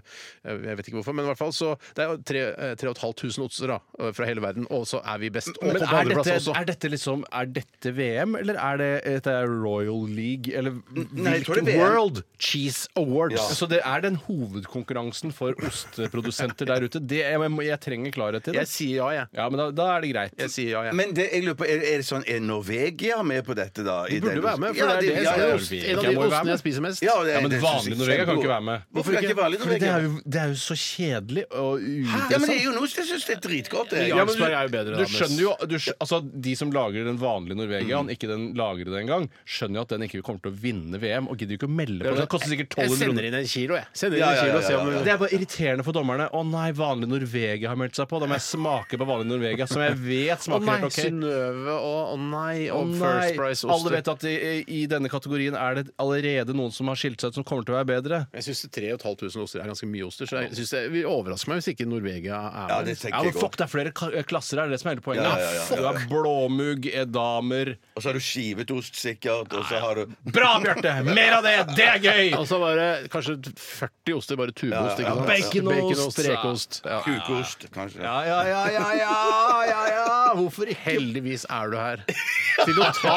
Jeg vet ikke hvorfor, men i hvert fall så Det er jo tre- eh, 3500 oster da, eh, fra hele verden, og så er vi best. Og
Men
på
er
andreplass
dette,
også.
er dette liksom Er dette VM, eller er det dette er Royal League, eller
Nei, jeg tror det er VM.
World Cheese Awards?
Ja.
Så det er den hovedkonkurransen for osteprodusenter der ute. Det, jeg, jeg, må- jeg trenger klarhet i det.
Jeg sier ja, jeg.
Ja, men da, da er det greit.
Jeg sier ja, jeg.
Men det, jeg lurer på, er, er det sånn, er Norvegia med på dette, da?
de burde være med, for det er det
ja,
som
ja.
er ost. En av
Jeg
de
må jo være med.
ostene jeg spiser mest.
Ja, men vanlig Norvegia kan ikke være med.
Hvorfor kan ikke vanlig
Fordi det,
Norvegia?
er jo, det er jo så kjedelig og
Ja, men det er
uinteressant.
jo noe som jeg syns er dritgodt. det.
Ja, men
Jarlsberg er jo bedre,
du
da, men-
skjønner jo, du, skj- altså, De som lager den vanlige Norvegiaen,
Mm.
ikke den lagrede engang, skjønner jo at den ikke kommer til å vinne VM og gidder jo ikke å melde på. Det koster sikkert
Jeg
1200 kroner.
sender inn en kilo, jeg. Sender inn
Ja, ja,
en kilo og
ja,
ser
ja,
om
ja.
Det er bare irriterende for dommerne. Å nei, vanlig Norvegia har meldt seg på. Da må jeg smake på vanlig Norvegia, som jeg vet
Å
smaker
nei,
helt OK.
Synnøve og å nei,
Å
og
nei,
First Price
Alle
oster.
vet at i, i denne kategorien er det allerede noen som har skilt seg ut, som kommer til å være bedre.
Jeg syns 3500 oster er ganske mye oster, så jeg synes det vi overrasker meg hvis ikke Norvegia er
Ja,
med.
det tenker
Ja, men
jeg
Fuck,
også.
det er flere ka- eh, klasser her, det er det som er hele poenget.
Ja, ja, ja, ja, ja.
Du er blåmugg, edamer
Og så har du skivet ost, sikkert. Og så har du
Bra, Bjarte! Mer av det! Det er gøy!
Og så altså bare kanskje 40 oster, bare tubeost. ikke sant?
Baconost,
Baconost,
ja.
rekeost. Ja.
kukost, kanskje.
Ja, ja, ja, ja, ja, ja, ja. Hvorfor ikke?
Heldigvis er du her. Til å ta,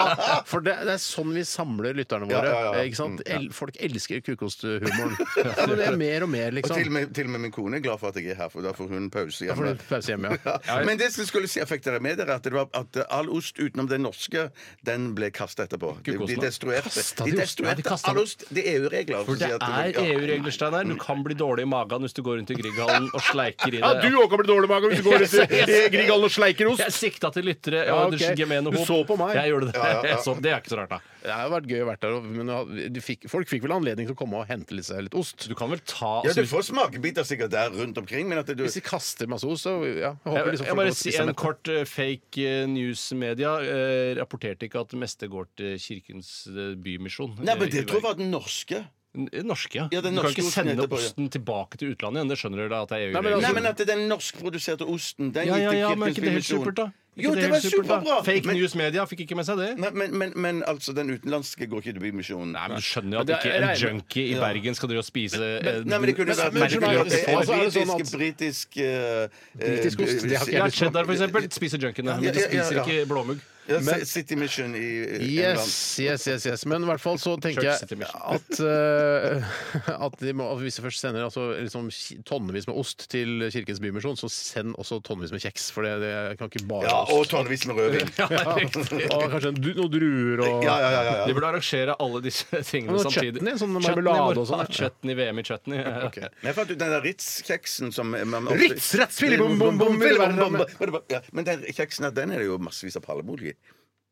for det, det er sånn vi samler lytterne våre.
Ja, ja, ja.
Ikke sant? El, folk elsker kukosthumoren. Ja, men det er mer og mer,
Og til og,
liksom.
med, til og med min kone er glad for at jeg er her, for da får hun pause
Da får
hjemme.
du pause hjemme, ja.
Ja, Men det som skulle si, jeg fikk dere med dere at, det var, at all ost utenom den norske, den ble kasta etterpå. De, de
Kukosten, da?
destruerte,
Kastet
de
de osten? Nei, de
destruerte
kastet
all
den.
ost. Det er EU-regler.
For det er EU-regler, Steinar. Du kan bli dårlig i magen hvis du går rundt i Grieghallen og sleiker i det.
òg kan bli dårlig mage hvis du går ut i Grieghallen og sleiker ost.
Jeg sikta til lyttere.
Ja,
og
ok.
gemene
Du
hop.
så på meg.
Jeg gjorde det.
Ja, ja, ja.
Jeg så, det er ikke så rart, da.
Det har vært gøy å være der, og- men det har- de fikk, folk fikk vel anledning til å komme og hente litt seg litt ost.
Du kan vel ta
Ja, du
altså, hvis-
får smakebiter sikkert der rundt omkring, men at du
Hvis de kaster masse ost, så ja, jeg håper
jeg,
liksom folk
jeg bare
har
si
spist seg
En
mette.
kort eh, fake eh, news-media eh, rapporterte ikke at det meste går til Kirkens eh, Bymisjon.
Nei, men
eh, i
det tror jeg
Bergen.
var den norske.
N- eh, Norske, ja.
Ja, den
du kan
norske
ikke
osten
sende
etterpå, ja.
osten tilbake til utlandet igjen. Det skjønner dere da, at det er
Nei, men
EU-regler.
altså-
Nei, men at den norskproduserte osten den
Ja,
gikk
ja,
til
ja, men
Kirkens
er ikke det helt
Bymisjon.
supert, da? Ikke
Jo, det var
helt supert, da?
superbra!
Fake
Men-
news-media fikk ikke med seg det.
Nei, men, men, men altså, den utenlandske går ikke til Bymisjonen.
Nei, men Du skjønner jo
Men det
at ikke
er-
en
jeg regner-
junkie i Bergen skal drive og spise
Nei,
eh,
men det kunne
Men-
vært
men-
det kunne vært- det
men- men-
er
altså, er det
britisk,
sånn at-
britisk, eh,
Britisk ost, det har ikke jeg
Ja,
lyst på.
cheddar, for eksempel. Spiser junkiene, men
Ja,
de
ja, ja,
spiser
ja.
ikke blåmugg.
Ja, City Mission i i England.
Yes, yes, yes, yes. Men i hvert fall så tenker jeg
Church City Mission.
at, eh, at de må, at hvis de først sender altså, liksom, tonnevis med ost til Kirkens Bymisjon, så send også tonnevis med kjeks, for det, det kan ikke bare
Ja,
være
og
ost.
tonnevis med rødvin.
Og kanskje en, du- noen druer og
Ja, ja, ja, ja,
De
ja.
burde arrangere alle disse tingene
Men
samtidig.
chutney, sånn
Chutney,
marmelade
bare
og sånn,
ta Chutney, VM i chutney.
Ok.
Men jeg fant ut den der Ritz-kjeksen som man ofte-
Ritz, Ritz, Philip, bom, bom, bom,
Philip, bom,
bom,
bom, bom, bom. Ja, Men den kjeksen der, den er det jo massevis av palmeolje i.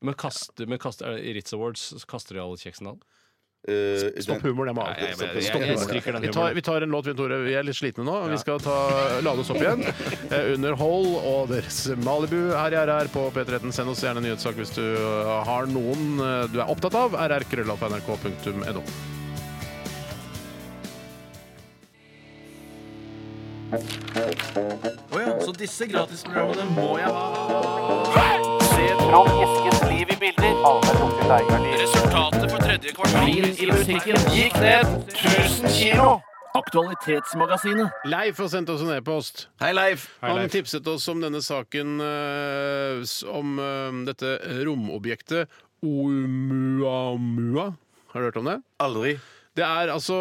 Men kaster, men kaster, er det I Ritz Awards så kaster de all kjeksen all.
Eh,
Stopp
den-
humoren, jeg må
Nei, jeg-
avbryte.
jeg-
Stopp
jeg- jeg stryker
humoren.
den
Vi tar,
humoren.
vi tar en låt, vi, Tore. Vi er litt slitne nå. Vi skal ta, lade oss opp igjen. Eh, Under Hole og deres Malibu her i RR på P13. Send oss gjerne en nyhetssak hvis du eh, har noen eh, du er opptatt av. rrkrøllalfa.nrk.no.
Så disse gratisprogrammene må jeg ha. Se Trond Eskens liv i bilder. Resultatet for tredje kvartal i musikken gikk ned 1000 kilo. Aktualitetsmagasinet.
Leif har sendt oss en e-post.
Hei, Leif!
Han tipset oss om denne saken eh, s- om eh, dette romobjektet Oumuamua. Har du hørt om det?
Aldri.
Det er altså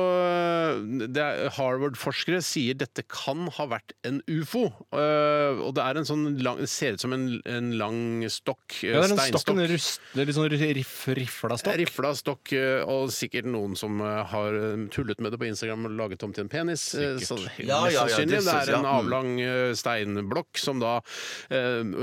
det er, Harvard-forskere sier dette kan ha vært en ufo. eh, og det er en sånn lang Det ser ut som en, en lang stokk. eh,
Ja, det er en stokk,
steinstokk.
en rust, det er litt sånn riff, rifla stokk.
Rifla stokk, eh, og sikkert noen som eh, har eh, tullet med det på Instagram og laget om til en penis. eh, Så,
Ja, ja,
mest
ja, det
sannsynlig. Det
synes
er
jeg,
en
ja. mm.
avlang eh, steinblokk som da eh,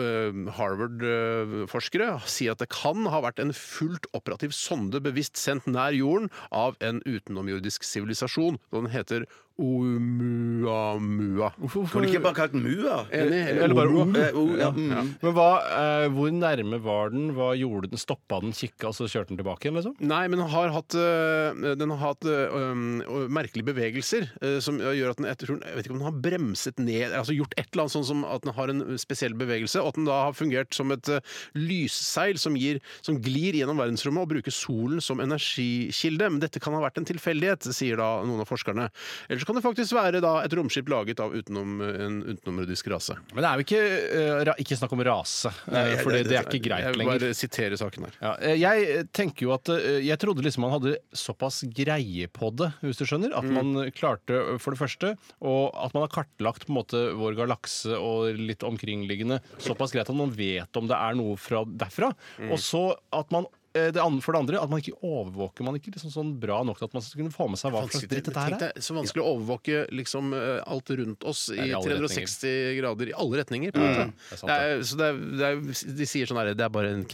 Harvard-forskere eh, sier at det kan ha vært en fullt operativ sonde bevisst sendt nær jorden av en utenomjordisk sivilisasjon. og Den heter Oumuamua.
Kunne du ikke bare kalt den Mua?
Enig?
Eller bare
Oumuamua.
Eh, oh, ja, mm.
Men hva, eh, hvor nærme var den? Hva gjorde den? Stoppa den, kikka, og så kjørte den tilbake igjen, liksom?
Nei, men den har hatt, øh, den har hatt øh, øhm, øh, merkelige bevegelser øh, som gjør at den jeg tror- Jeg vet ikke om den har bremset ned Altså gjort et eller annet sånn som at den har en spesiell bevegelse, og at den da har fungert som et øh, lysseil som, gir, som glir gjennom verdensrommet og bruker solen som energikilde. Men dette kan ha vært en tilfeldighet, sier da noen av forskerne. Eller så kan det faktisk være da et romskip laget av utenom, en utenomrudisk rase.
Men det er jo ikke, eh, ra, ikke snakk om rase, eh, for det, det er ikke greit
Jeg vil
lenger.
bare sitere saken her.
Ja, eh, jeg tenker jo at eh, Jeg trodde liksom man hadde såpass greie på det, hvis du skjønner.
Mm.
At man klarte, eh, for det første, og at man har kartlagt på en måte vår galakse og litt omkringliggende såpass greit at man vet om det er noe fra derfra.
Mm.
Og så at man eh, det andre, for det andre, at man ikke overvåker man er ikke liksom sånn bra nok til at man skal kunne få med seg hva slags dritt dette her
Tenk
er.
deg, så vanskelig å overvåke liksom, eh, alt rundt oss
er
i
i alle
360 grader i alle retninger. På en måte.
Mm. det er sant,
Det er, så det er, det er, de sier sånn her Det er bare en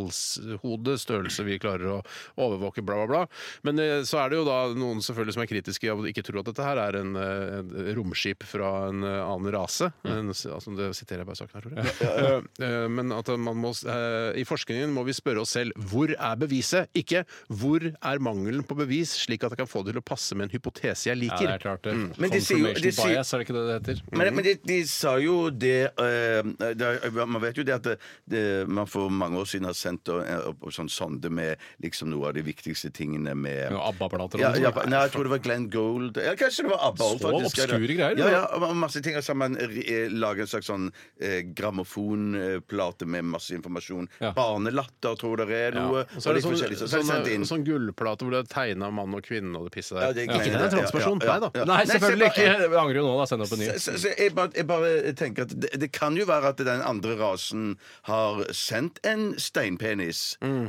knappenålshode, størrelse vi klarer å overvåke, bla, bla, bla. Men eh, så er det jo da noen selvfølgelig som er kritiske og ikke tror at dette her er en, eh, en romskip fra en eh, annen rase.
Mm.
En, altså, det siterer jeg bare saken her, tror jeg. Eh, eh, Men at man må, s- eh, i forskningen må vi spørre oss selv hvor er beviset? Ikke hvor er mangelen på bevis, slik at jeg kan få det til å passe med en hypotese jeg
Ja, det
liker.
er klart det.
Mm. Men de sier jo-
Confirmation
de sier-
bias, er det ikke det det heter?
Men, men de, de sa jo det, eh, det Man vet jo det at det, det, man for mange år siden har sendt eh, opp opp sånn sonde med liksom noe av de viktigste tingene med
Noen ABBA-plater og
ja,
noe
ja,
sånt.
nei, jeg tror det var Glenn Gould Ja, Kanskje det var ABBA
Så obskure
Ja,
greier, det
ja, og masse ting. Altså, man eh, lager en slags sånn eh, grammofonplate med masse informasjon.
Ja.
Barnelatter tror det er noe.
Og så er
og
det
litt
sånn,
forskjellig, så- så er det
sånn,
sendt inn.
sånn gullplate hvor det er tegna mann og kvinne og det pisset der.
Ja, det er
ikke
greiene
den er
der, ja,
transperson.
ja, ja,
Nei da.
ja.
Nei,
Nei, se
selvfølgelig
bare-
ikke! Jeg angrer jo nå, da. Send opp en ny.
Så, så, så jeg, bare, jeg bare tenker at det, det kan jo være at den andre rasen har sendt en steinpenis.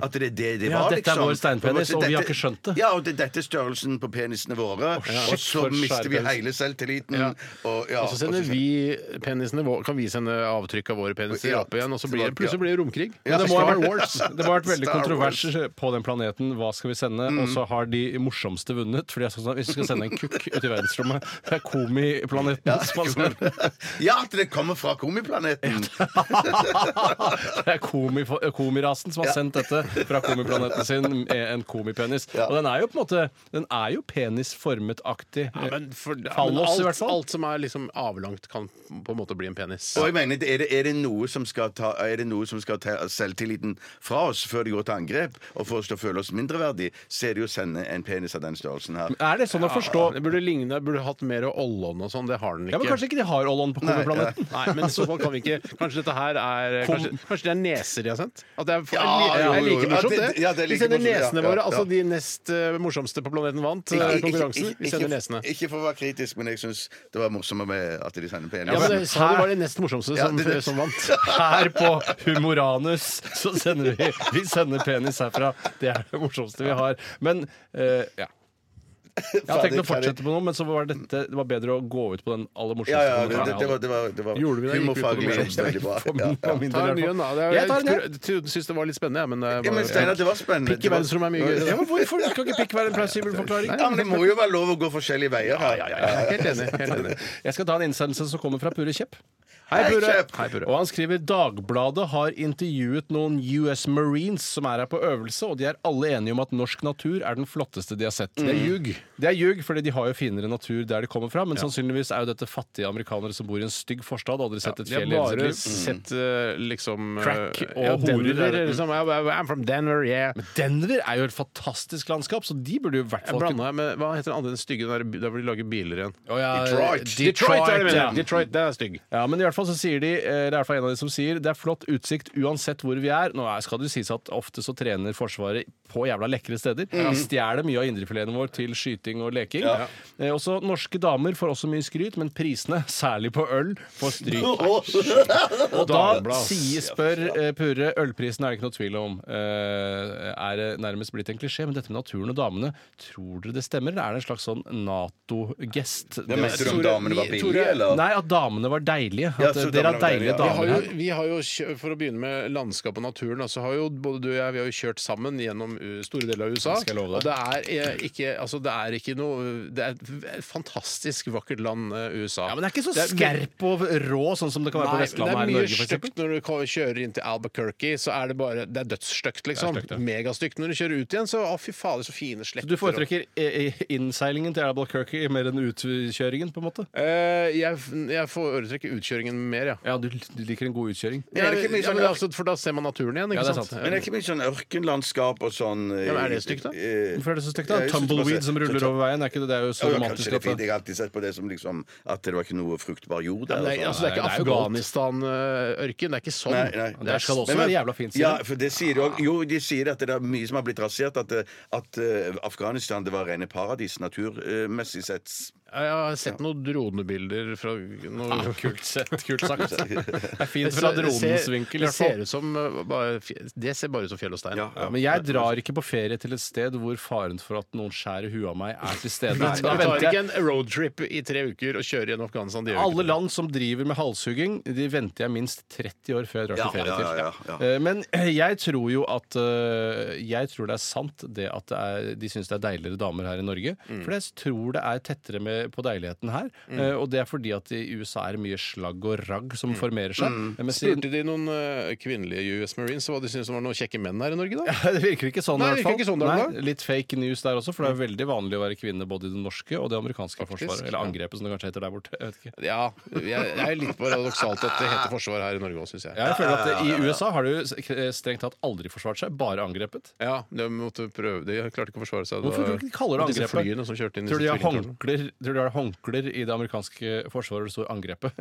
At det er det det
Mm. Ja,
var,
dette er
liksom.
vår steinpenis, og vi har ikke skjønt det.
Ja, og det, dette er størrelsen på penisene våre.
shit,
og så
for en svær
mister vi
penis.
hele selvtilliten. Og, ja,
Og så sender vi penisene vår- Kan vi sende avtrykk av våre peniser
Ja,
opp igjen, og så blir
tilbake,
det
ja.
plutselig blir det romkrig.
Men det, må ha
Star
vært,
Wars.
det må ha vært veldig
Star
kontrovers på den planeten. Hva skal vi sende? Og så har de morsomste vunnet. Fordi jeg synes at Hvis vi skal sende en kukk ut i verdensrommet Det er komiplaneten som man sender.
Ja, at det kommer fra komiplaneten!
Det er komi, eh, komirasen som har sendt dette fra komiplaneten sin med en komipenis. Og den er jo på en måte Den er jo penisformetaktig.
Ja, men for, ja, men
Fallos, i hvert
alt,
fall.
alt som er liksom avlangt, kan på en måte bli en penis.
Og jeg mener, er det, er det noe som skal ta, er det noe som skal ta selvtilliten fra oss før de går til angrep, og får oss til å føle oss mindreverdig, så er det jo å sende en penis av den størrelsen her.
Er det sånn å forstå?
Det burde ligne, burde hatt mer ollon og sånn. Det har den
Ja,
ikke.
men Kanskje ikke de har Ollon på komiplaneten?
Nei, men i så fall kan vi ikke Kanskje dette her er Kanskje, kanskje det er neser de har sendt? At det er,
Ja,
er,
jo,
er
jo,
like
jo.
morsomt,
Ja, det-
det.
ja, det er
de
like
sender
morsomt, ja,
nesene
ja,
våre.
ja.
Altså de nest eh, morsomste på planeten vant eh,
Ikke- ikke-
konkurransen.
ikke-
Vi sender
ikke-
nesene.
Ikke for å være kritisk, men jeg syns det var morsommere med at de sender Altså, penis.
Ja, men det, sa de var de nest morsomste
Ja,
som,
det- det-
som vant.
Her på Humoranus så sender vi Vi sender penis herfra. Det er det morsomste vi har. Men eh, ja. Jeg har tenkt å fortsette på noe, men så var dette, det var bedre å gå ut på den aller morsomste.
Ja, ja, det,
kommentaren
det,
jeg
det var,
hadde.
det var, det var
Gjorde vi det? Gikk vi på
humorfaglig
kommersielt?
veldig bra. Ja.
For min, for min
Ta en
del,
ny
i hvert
en, da.
fall.
Det er-
Jeg tar en, jeg.
Jeg tror- jeg syns det var litt spennende, jeg, men det er
Ja, men
bare-
Steinar, det var spennende.
Pikk i
Det var-
verdensrommet er mye gøyere.
Ja, men hvorfor skal ikke pikk være en plausibel forklaring?
Ja, men Det må jo være lov å gå forskjellige veier her.
Helt enig. Helt enig.
Jeg skal ta en innsendelse som kommer fra Pure Kjepp.
Hei, Kjepp.
Hei, Pure. Og han skriver Dagbladet har intervjuet noen US Marines som er her på øvelse, og de er alle enige om at norsk natur er den flotteste de har sett. Det er ljug. Det er ljug, fordi de har jo finere natur der de kommer fra, men sannsynligvis er jo dette fattige amerikanere som bor i en stygg forstad og aldri sett et
De har
fjell i hele sitt
bare
liv.
sett eh, liksom eh,
Crack og
ja,
horer, er
Denver,
det.
liksom. I'm I'm from Denver, yeah.
Denver er jo et fantastisk landskap, så de burde jo i hvert
Jeg
fall
blanda jeg med Hva heter den andre den stygge der, der hvor de lager biler igjen?
Å, ja,
Detroit.
Detroit, er det, mener jeg.
Detroit, den er stygg.
Ja, men i hvert hvert fall så sier de, eh, det er i hvert fall en av de som sier det er flott utsikt uansett hvor vi er. Nå er- skal det jo sies at ofte så trener Forsvaret på jævla lekre steder. Stjeler mye av indrefileten vår til skyting og leking. Eh, også norske damer får også mye skryt, men prisene, særlig på øl, får stryk. Og da sier, spør eh, Purre Ølprisen er det ikke noe tvil om. Eh, er det nærmest blitt en klisjé, men dette med naturen og damene, tror dere det stemmer? Eller er det en slags sånn Nato-gest?
Det
mente
mente
du
du
om
om damene
Tore, damene var
var
vi- billige, Tore,
billige,
eller?
eller?
Nei, at damene var deilige.
Ja,
At
så
eh, dere
damene
er
var deilige,
deilige
ja.
Vi har,
damer
jo,
her.
vi har jo, kjø- For å begynne med landskap og naturen, da, så har jo både du og jeg vi har jo kjørt sammen gjennom uh, store deler av USA.
Det skal jeg love deg.
Og det er eh, ikke, altså, det er ikke noe Det er et v- et fantastisk vakkert land, eh, USA.
Ja, men det er ikke så
Det er-
skerp og rå sånn som det kan være på
Nei, det
Vestlandet
er
her i
mye
Norge, for eksempel.
stygt når du ko- kjører inn til Albuquerque. Så er det bare Det er dødsstygt, liksom.
stygt, ja.
Megastygt. Når du kjører ut igjen, så å, fy fader, så fine
Så
sletter.
Du foretrekker eh, eh, innseilingen til Albuquerque mer enn utkjøringen, på en måte?
og- Eh, jeg, jeg foretrekker utkjøringen mer, ja.
Ja, du, du liker en god utkjøring.
Men er det ikke mye
ja,
sånn
men
ørk-
altså, for da ser man naturen igjen, ikke
Ja, det er
sant?
sant.
Men det er ikke mye sånn ørkenlandskap og sånn eh,
Ja, men er det stygt, da?
eh,
Hvorfor er det så stygt? da?
jeg synes det bare-
Tumbleweed som ruller
så-
over veien, er ikke det, det er jo så
Ja,
romantisk.
kanskje det er
at
fint.
det-
Jeg har alltid sett på det som liksom at det var ikke noe fruktbar jord der.
Ja, men det,
og
er- altså, det er ikke
Nei, det er jo galt.
Afghanistan-ørken. Det er ikke sånn.
Nei, nei.
Det er
Der skal det
sånn.
også
Men-
være jævla fint. sier
Ja,
de.
for det sier de også. Jo, de sier at det er mye som har blitt rasert. At, eh, at eh, Afghanistan det var rene paradis naturmessig sett.
Jeg har sett noen dronebilder fra noen
Ja, kult sett, kult sagt. Det er
Det
fint
ser-
fra dronens vinkel, i
det
hvert fall.
ser ut som uh, bare, fj- Det ser bare ut som fjell og stein.
Ja, ja.
Men jeg drar ikke på ferie til et sted hvor faren for at noen skjærer huet av meg, er til stede.
Du
Da
tar
venter jeg
ikke en roadtrip i tre uker og kjører gjennom Afghanistan. Det gjør
Alle
ikke det.
land som driver med halshugging, de venter jeg minst 30 år før jeg drar
Ja,
til ferie til.
ja, ja, ja,
Eh, Men jeg tror jo at eh, Jeg tror det er sant det at det er, de syns det er deiligere damer her i Norge. For jeg tror det er tettere med, på deiligheten her. Eh, Og det er fordi at i USA er det mye slagg og ragg som formerer seg. Eh, Men siden-
Spurte de noen uh, kvinnelige US Marines hva de syntes det var noen kjekke menn her i Norge, da?
det virker ikke sånn.
Nei, det
i
virker
hvert fall.
ikke sånn der, da.
Nei, litt fake news der også, for det er veldig vanlig å være kvinne både i det norske og det amerikanske
Faktisk,
forsvaret. Eller angrepet, som det kanskje heter der borte. Jeg vet ikke.
Ja. Jeg, jeg er litt paradoksalt at det heter forsvar her i Norge òg, syns jeg.
Ja, jeg føler at I USA har det jo strengt tatt aldri forsvart seg, bare angrepet.
Ja, de måtte prøve De klarte ikke å forsvare seg.
Hvorfor tror du ikke de kaller det
Disse
angrepet?
flyene som kjørte inn i
Tror du de har
disse tvillingtårnene.
håndklær, tror du de har håndklær i det amerikanske forsvaret det står 'angrepet'?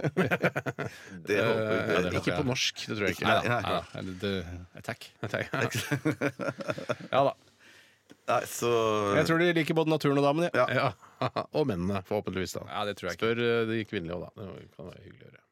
Det håper
Eh,
jeg.
Ja, det håper
Ikke
jeg.
på norsk, det tror jeg ikke.
Nei da. nei da. Det- det- Attack. Ja da.
Nei, så
Jeg tror de liker både naturen og damen. Ja.
Ja. Og mennene, forhåpentligvis. da
Ja, det tror jeg ikke.
Spør eh, de kvinnelige òg, da. Det kan være hyggelig å gjøre.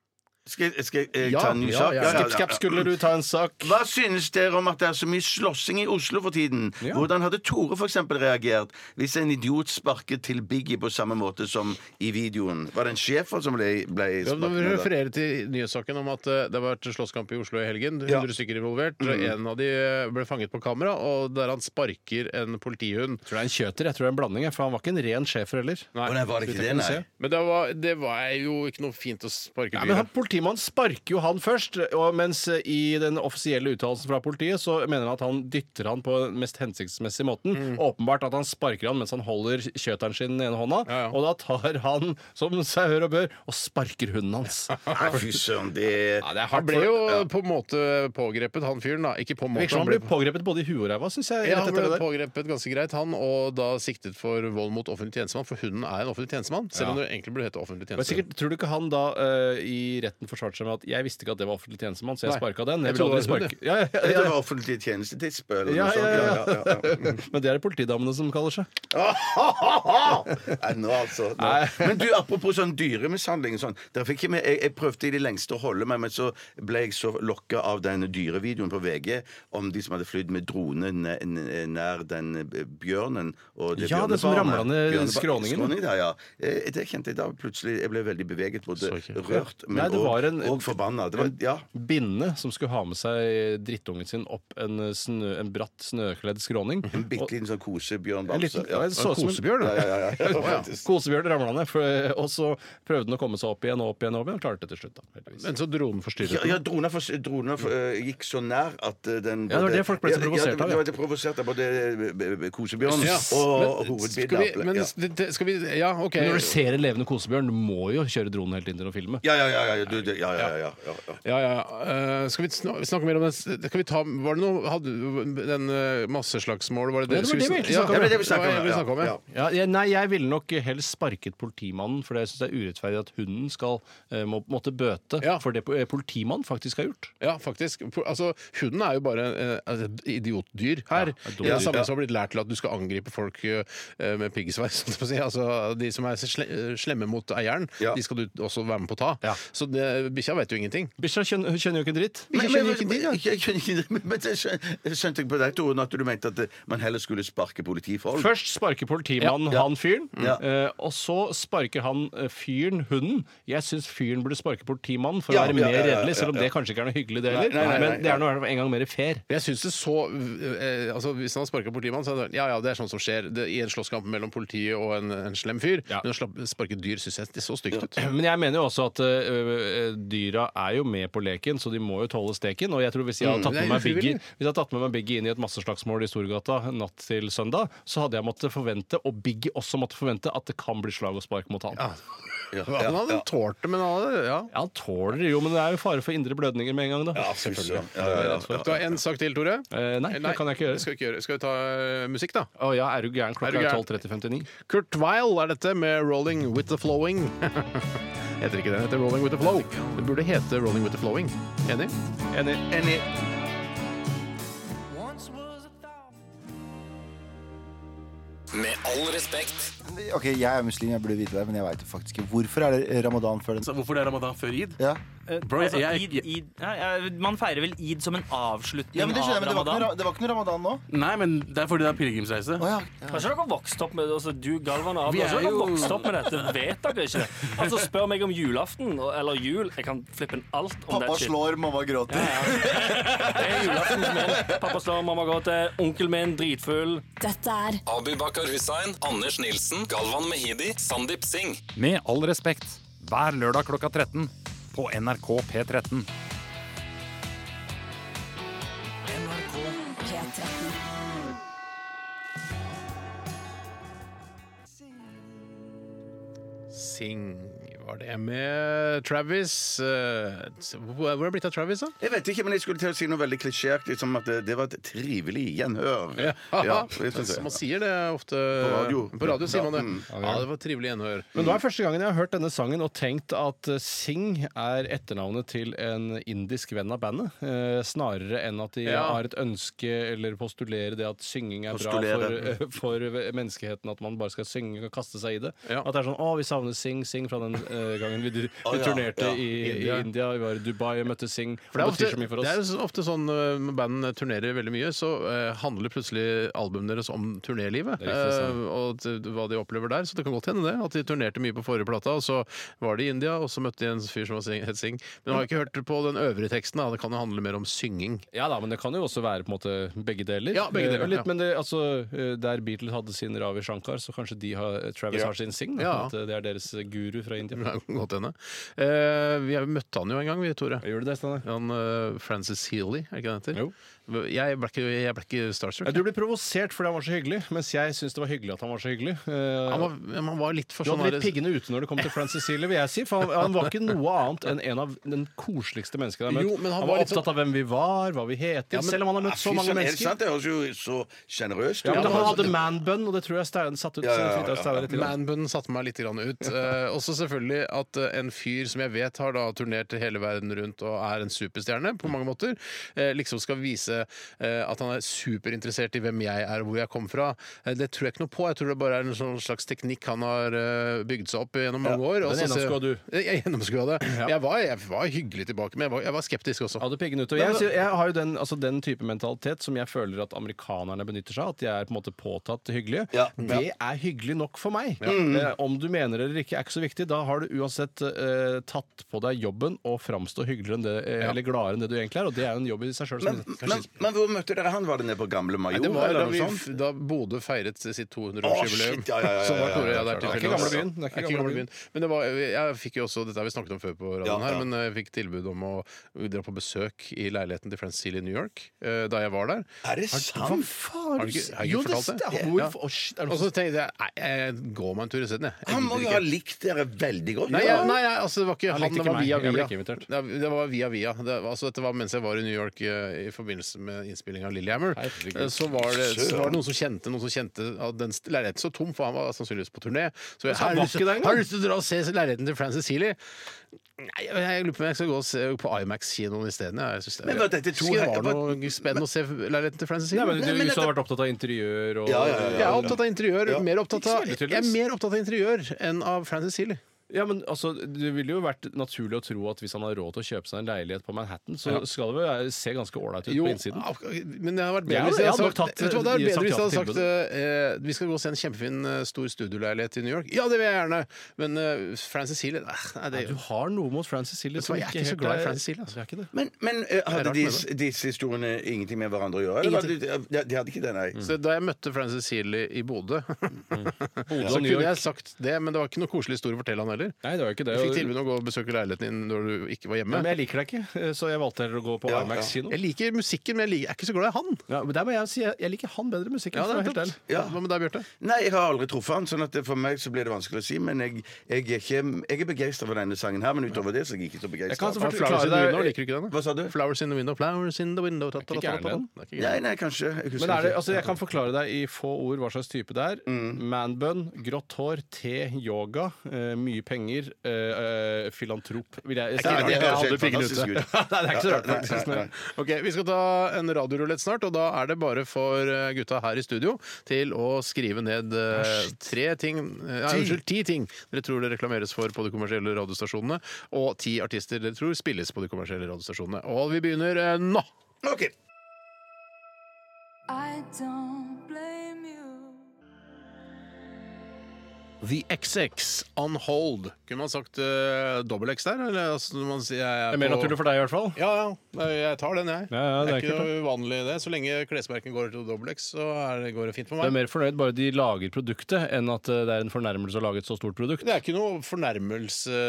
Skal, jeg- skal jeg eh,
Ja,
ta en ny
ja,
sak?
ja,
Ja, ja,
Skip,
ja.
skap, skulle du ta en sak?
Hva synes dere om at det er så mye slåssing i Oslo for tiden? Hvordan hadde Tore for eksempel reagert hvis en idiot sparket til Biggie på samme måte som i videoen? Var det en sjefer som ble, ble
Ja,
sparket?
men du
med det?
refererer til nyhetssaken om at eh, det har vært slåsskamp i Oslo i helgen. 100 stykker involvert. En av de eh, ble fanget på kamera, og der han sparker en politihund.
Jeg tror det er en kjøter. Jeg tror det er en blanding. jeg, For han var ikke en ren schæfer heller.
Å, nei, var det ikke det, nei?
Men det var, det var jo ikke noe fint å sparke
Ja, men han,
dyret.
Politimannen sparker jo han først, og mens eh, i den offisielle uttalelsen fra politiet så mener han at han dytter han på den mest hensiktsmessige måten.
Mm.
Åpenbart at han sparker han mens han holder kjøteren sin i den ene hånda,
Ja, ja.
og da tar han, som seg hør og bør, og sparker hunden hans.
Nei, fy søren, det
Han ble jo eh, på en måte pågrepet, han fyren, da. Ikke på en måte.
Virker som han ble pågrepet både i huet og ræva, syns jeg.
Ja, han
rett etter
ble
det der.
pågrepet ganske greit, han, og da siktet for vold mot offentlig tjenestemann, for hunden er en offentlig tjenestemann, selv om det egentlig burde hete offentlig
Men
tjenestemann.
sikkert, tror du ikke han da eh, i retten forsvarte seg med at 'jeg visste ikke at det var offentlig tjenestemann, så jeg
Nei.
sparka den'?
Jeg
Jeg vil aldri
trodde det var
sparke ja, ja, ja,
Det
ja.
var offentlig tjenestetidsspill eller
Ja,
noe sånt.
ja, ja.
Ja, ja, ja.
Men det er det politidamene som kaller seg.
Nei, nå altså. Nå.
Nei.
Men du, apropos sånn dyremishandling og sånn. Der fikk jeg, med, jeg, jeg prøvde i det lengste å holde meg, men så ble jeg så lokka av den dyrevideoen på VG om de som hadde flydd med drone næ- n- nær den bjørnen. Og
Ja, det som
bjørnebarnet.
ramla ned
Bjørnebar-
skråningen.
skråningen der, ja. Eh, Det kjente jeg da plutselig. Jeg ble veldig beveget, både rørt
Nei,
men
det
og,
var en-
og forbanna. Det var, ja.
Binne som skulle ha med seg drittungen sin opp en, eh, snø, en bratt snøkledd skråning.
En bitte liten sånn
En
kosebjørnbamse.
liten,
Ja.
det så ut som en-
Ja, ja, ja, ja. Faktisk.
Kosebjørn ramla ned, for- eh, og så prøvde den å komme seg opp igjen og opp igjen, og opp igjen, og klarte det til slutt. da, heldigvis.
Men så dronen forstyrret
Ja, ja droner, for, droner for, eh, gikk så nær at eh, den
Ja, det var det folk ble så provosert av,
av. Ja,
ja.
det var det provosert av både eh, b- b- kosebjørn og
Skal vi,
hovedbildet.
Sånn. men
Ja.
det- det- skal vi Ja, OK.
Men når du ser en levende kosebjørn, du må jo kjøre dronen helt inn til å filme.
Ja, ja, ja, ja, du, det- det- ja, ja, ja, ja, ja.
Ja, ja. Eh, skal vi snakke, snakke mer om den Skal vi ta, Var det noe hadde, Den eh, masseslagsmålet Var det det,
Ja, det var
skulle
det vi
sn-
egentlig
ja,
snakket om,
det var
ja.
det vi snakket om?
Ja,
Ja, vi snakket om, ja.
ja.
Ja, jeg, nei, jeg ville nok helst sparket politimannen, for jeg syns det er urettferdig at hunden skal eh, må, måtte bøte
Ja.
for det po- eh, politimannen faktisk har gjort.
Ja, faktisk. Po- Altså, hunden er jo bare eh, et idiotdyr her.
et dumt
I det
dyr.
samme som har blitt lært til at du skal angripe folk eh, med piggsveis. holdt jeg på å Si. Altså, de som er sle slemme mot eieren,
Ja.
de skal du også være med på å ta.
Ja.
Så det- bikkja vet jo ingenting.
Bikkja kjen- kjenner jo ikke en dritt.
Men,
skjønner ikke det, ja.
men, jeg skjønner ikke det, men- men jeg skjøn- skjønte ikke på deg, Toren, at du mente at eh, man heller skulle sparke politifolk.
Først sparker politimannen
Mm. Ja. Mm.
han fyren,
Ja.
eh, og så sparker han eh, fyren hunden. Jeg syns fyren burde sparke politimannen for
Ja,
å være
ja,
mer
ja, ja,
redelig, selv om
ja,
det kanskje ikke er noe hyggelig, det heller.
nei, nei, nei,
Men det er noe en gang mer fair.
Jeg synes det så eh, altså Hvis han har sparka politimannen, så er det ja, ja, det er sånn som skjer det, i en slåsskamp mellom politiet og en, en slem fyr.
Ja.
Men å slapp- sparke dyr syns jeg det så stygt ut.
Men jeg mener jo også at ø, ø, dyra er jo med på leken, så de må jo tåle steken. Og jeg tror hvis jeg
Mm.
hadde tatt
det er
med meg Biggie
ufrivillig.
Hvis jeg hadde tatt med meg Biggie inn i et masseslagsmål i Storgata natt til søndag, så hadde jeg måttet forvente, og Biggie også måtte forvente, at det kan bli slag og spark mot han.
Ja, ja,
Han hadde
ja.
tålt det, men han hadde ja.
Ja, han tåler det jo, men det er jo fare for indre blødninger med en gang, da.
Ja, selvfølgelig. Ja, ja, ja, ja.
Du har en sak til, Tore.
Eh, nei, det kan jeg ikke gjøre.
Skal vi, ikke gjøre. skal vi ta eh, musikk, da?
Å ja, er du
Er
gæren?
du
Klokka er
gæren?
12.30.59.
Kurt Weil er dette med 'Rolling With The Flowing'. heter ikke den, heter 'Rolling With The Flow'. Det burde hete 'Rolling With The Flowing'. Enig?
Enig.
Med all respekt.
Ok, jeg er muslim, jeg burde vite det, men jeg veit faktisk ikke. Hvorfor er det ramadan før den?
Hvorfor det er ramadan før id?
Ja.
Bro, jeg, jeg,
Eid, Eid, ja, ja, man feirer vel id som en avslutning
Ja, men det skjønner jeg, men det
av
var, ikke noe,
ramadan.
ra- det var ikke noe ramadan nå.
nei, men det er fordi det er pilegrimsreise.
Å ja.
Har ikke dere vokst opp med det? Altså, du, Galvan og Abel, har ikke dere vokst opp med dette? Vet dere ikke det? Altså, spør meg om julaften og- eller jul. Jeg kan flippe en alt om
Pappa
det shit.
slår, mamma gråter.
Det er julaften som er. Pappa slår, mamma gråter, onkel min dritfull.
Dette er
Abu Bakar Hussein, Anders Nilsen, Galvan Mehidi, Sandeep Singh.
Med all respekt, hver lørdag klokka 13 på NRK P13.
P13.
Sing var det med Travis. eh, Hvor er det blitt av Travis, da?
Jeg vet ikke, men jeg skulle til å si noe veldig klisjéaktig, som at det, det var et trivelig gjenhør. jeg synes det.
man sier det ofte.
På radio.
På radio sier
Ja,
man det.
mm.
Ja, det var trivelig gjenhør.
Men nå er første gangen jeg har hørt denne sangen og tenkt at eh, Singh er etternavnet til en indisk venn av bandet, eh, snarere enn at de
Ja.
har et ønske eller postulerer det at synging er bra for,
Postulere.
eh, for menneskeheten, at man bare skal synge og kaste seg i det.
Ja.
At det er sånn 'Å, vi savner Singh, Singh' fra den eh, gangen vi, vi
ja,
turnerte
ja.
I,
India.
i India, vi var i Dubai og møtte Singh.
For det, er ofte,
betyr så mye for
det er
oss.
jo så- ofte sånn eh, når band turnerer veldig mye, så eh, handler plutselig albumene deres om turnélivet.
Det er riktig, sant.
eh, og t- hva de opplever der. Så det kan godt hende det. At de turnerte mye på forrige plata, og så var de i India, og så møtte de en fyr som var sing- het Singh. Men jeg har ikke hørt på den øvrige teksten. Da. Det kan jo handle mer om synging.
Ja da, men det kan jo også være på en måte begge deler.
Ja, begge
Eh,
deler,
litt,
ja.
Men det, altså, eh, der Beatles hadde sin Ravi Shankar, så kanskje de har, eh, Travis har sin Singh. Da,
Ja.
At, eh, det er deres guru fra India.
Det kan godt hende. Eh, vi har- møtte han jo en gang, vi, Tore.
Gjør du det, Steinar?
Han, eh, Francis Healy, er ikke det han heter? Jeg ble ikke, jeg ble ikke starstruck.
Ja, du ble provosert fordi han var så hyggelig, mens jeg syns det var hyggelig at han var så hyggelig. Eh,
Han var, men han var litt for
du
sånn
hadde litt
her-
piggene ute når det kom til Francis Sealer, vil jeg si. For han, han var ikke noe annet enn en av den koseligste menneskene jeg har møtt.
Jo, men han
han,
var
var
litt
opptatt av hvem vi var, hva vi heter, selv om han har
Ja,
møtt
fy
så mange
søren, er det
mennesker.
sant? Det høres jo så sjenerøst ut.
Ja, men han hadde
Altså,
man-bun, og det tror jeg Steinar satt ut.
Ja, ja, ja, ja.
fritatt Steinar litt i dag.
Manbunnen satte meg litt grann ut. Eh, også selvfølgelig at eh, en fyr som jeg vet har da turnert hele verden rundt og er en superstjerne på mange måter, eh, liksom skal vise eh, at han er superinteressert i hvem jeg er og hvor jeg kom fra. Eh, det tror jeg ikke noe på. Jeg tror det bare er en sånn slags teknikk han har eh, bygd seg opp gjennom mange år. og
den
så ser-
gjennomskua du.
Jeg, jeg gjennomskua det. Jeg, var, jeg var hyggelig tilbake, men jeg var, jeg var skeptisk også.
Hadde piggene ute. Og jeg, jeg har jo den, altså, den type mentalitet som jeg føler at amerikanerne benytter seg av. At de er på en måte påtatt hyggelige.
Ja, ja. Mm.
Det er hyggelig nok for meg. Eh, om du mener det eller ikke, er ikke så viktig. Da har du uansett eh, tatt på deg jobben og framstå hyggeligere enn det, eh, eller gladere enn det du egentlig er. Og det er jo en jobb i seg sjøl.
Men, men, men hvor møtte dere han? Var det nede på Gamle Major?
Nei, det var da,
eller noe sånt?
vi, da Bodø feiret sitt
Å,
200-årsjubileum.
shit, ja, ja, ja, ja,
Så var
ja,
Tore og
ja,
jeg der
ja, ja.
tilfeldig
Det
også.
er ikke gamlebyen, det er ikke gamlebyen.
Men altså. det var, jeg fikk jo også, dette har vi snakket om før på radioen
Ja,
her,
ja.
men jeg fikk tilbud om å dra på besøk i leiligheten til Frances Sealy i New York eh, da jeg var der.
Er det sant?
faen?
Har du ikke, har jeg ikke fortalt det?
Hvorfor? Å, shit, er det
Og
noe
så tenkte jeg nei, jeg går meg en tur isteden, jeg.
Han
Jeg
må
gidder
jo
ikke.
ha likt dere veldig like godt.
Nei, jeg, nei, jeg, altså, det var ikke
Han
han,
likte
det
ikke
var
meg.
via
Jeg ble
via.
ikke invitert.
Det, det var via via. Det, var- altså, dette var mens jeg var i New York eh, i forbindelse med innspilling av Lillehammer. Eh, Så var, det, så var det noen som kjente Noen som kjente at den st- leiligheten så tom, for han var sannsynligvis på turné. Så jeg
Så han
har
var
lyst, til-
ikke der engang?
har lyst til å dra og se leiligheten til Frances Healy. Nei, jeg, jeg lurer på om jeg skal gå og se på Imax-kinoen isteden. jeg. Jeg syns det-
Men var dette
jeg
to
syns ikke
helt-
det var noe spennende å se leiligheten til Frances Healy.
Nei, men du,
Nei, men
Hvis du
dette-
hadde vært opptatt av interiør og
Ja, ja, ja, ja.
jeg er opptatt av interiør.
Ja.
Mer opptatt
Ikke så
av,
veldig,
jeg er mer opptatt av interiør enn av Frances Healy.
Ja, men altså, Det ville jo vært naturlig å tro at hvis han har råd til å kjøpe seg en leilighet på Manhattan, så
Ja.
skal det vel se ganske ålreit ut
Jo,
på innsiden.
ak- Men det hadde vært
Jeg
bedre hvis jeg
hadde- jeg
hadde
hadde
sagt,
nok tatt-
vet du hva, det hadde vært
sagt
bedre hvis
ja
jeg hadde
til
sagt eh, vi skal gå og se en kjempefin eh, stor studioleilighet i New York. Ja, det vil jeg gjerne! Men eh, Frances Healy eh, nei, det,
Nei, du har noe mot Frances Hilde
Vet du hva, jeg er ikke så glad i Frances Hill, altså.
Jeg er ikke det.
Men, men eh,
Det er
hadde
rart med
disse, disse historiene ingenting med hverandre å gjøre? eller var det- De, de hadde ikke det, nei.
Så da jeg møtte Frances Healy i Bodø, så
og New
kunne
York.
jeg sagt det, men det var ikke noe koselig historie å fortelle han heller.
Nei, det var jo ikke det.
Jeg fikk tilbud om å gå og besøke leiligheten din når du ikke var
Ja,
hjemme.
men jeg liker deg ikke, eh, så jeg valgte heller å gå på
Ja,
Imax
ja.
kino.
Jeg liker musikken, men jeg, liker, jeg er ikke så glad i han.
Ja, men der må jeg si jeg, jeg liker han bedre enn musikken. for å være helt ærlig.
Ja.
Hva med deg, Bjarte?
Nei, jeg har aldri truffet han, sånn at det- for meg så blir det vanskelig å si. Men jeg, jeg er, ikke- jeg er begeistra for denne sangen her, men utover det så er jeg ikke så
Jeg kan
begeistra.
selvfølgelig-
Flowers in the
Forklare deg-
window, liker du ikke den? da?
Hva sa du?
Flowers in the window, flowers in the window ta, ta, ta, ta, ta, ta.
gæren,
Det er ikke
Nei, nei, kanskje. Jeg husker
Men er det,
ikke.
altså, jeg kan forklare deg i få ord hva slags type det er. Manbun, grått hår, te, yoga, eh, mye penger, eh, eh, filantrop vil jeg,
Nei, det høres
jeg hadde
helt
pengene
fantastisk
ute.
ut.
Nei, det er ikke så rart, faktisk.
Nei, nei,
Men.
nei.
Ok, Vi skal ta en radiorulett snart, og da er det bare for eh, gutta her i studio til å skrive ned eh, tre ting eh, Nei, unnskyld, ti ting dere tror det reklameres for på de kommersielle radiostasjonene, og ti artister dere tror spilles på de kommersielle radiostasjonene. Og vi begynner eh, nå!
Ok.
The XX On Hold. Kunne man sagt eh, dobbel X der? Eller altså, når man sier jeg
Det
er
er mer
på-
naturlig for deg i hvert fall.
Ja, ja. Nei, Jeg tar den, jeg.
Ja, ja,
det
det
er
er
ikke noe uvanlig i det. Så lenge klesmerken går til dobbel X, så er det, går det fint for
Du
meg.
er mer fornøyd bare de lager produktet, enn at eh, det er en fornærmelse å lage et så stort produkt.
Det er ikke noe fornærmelse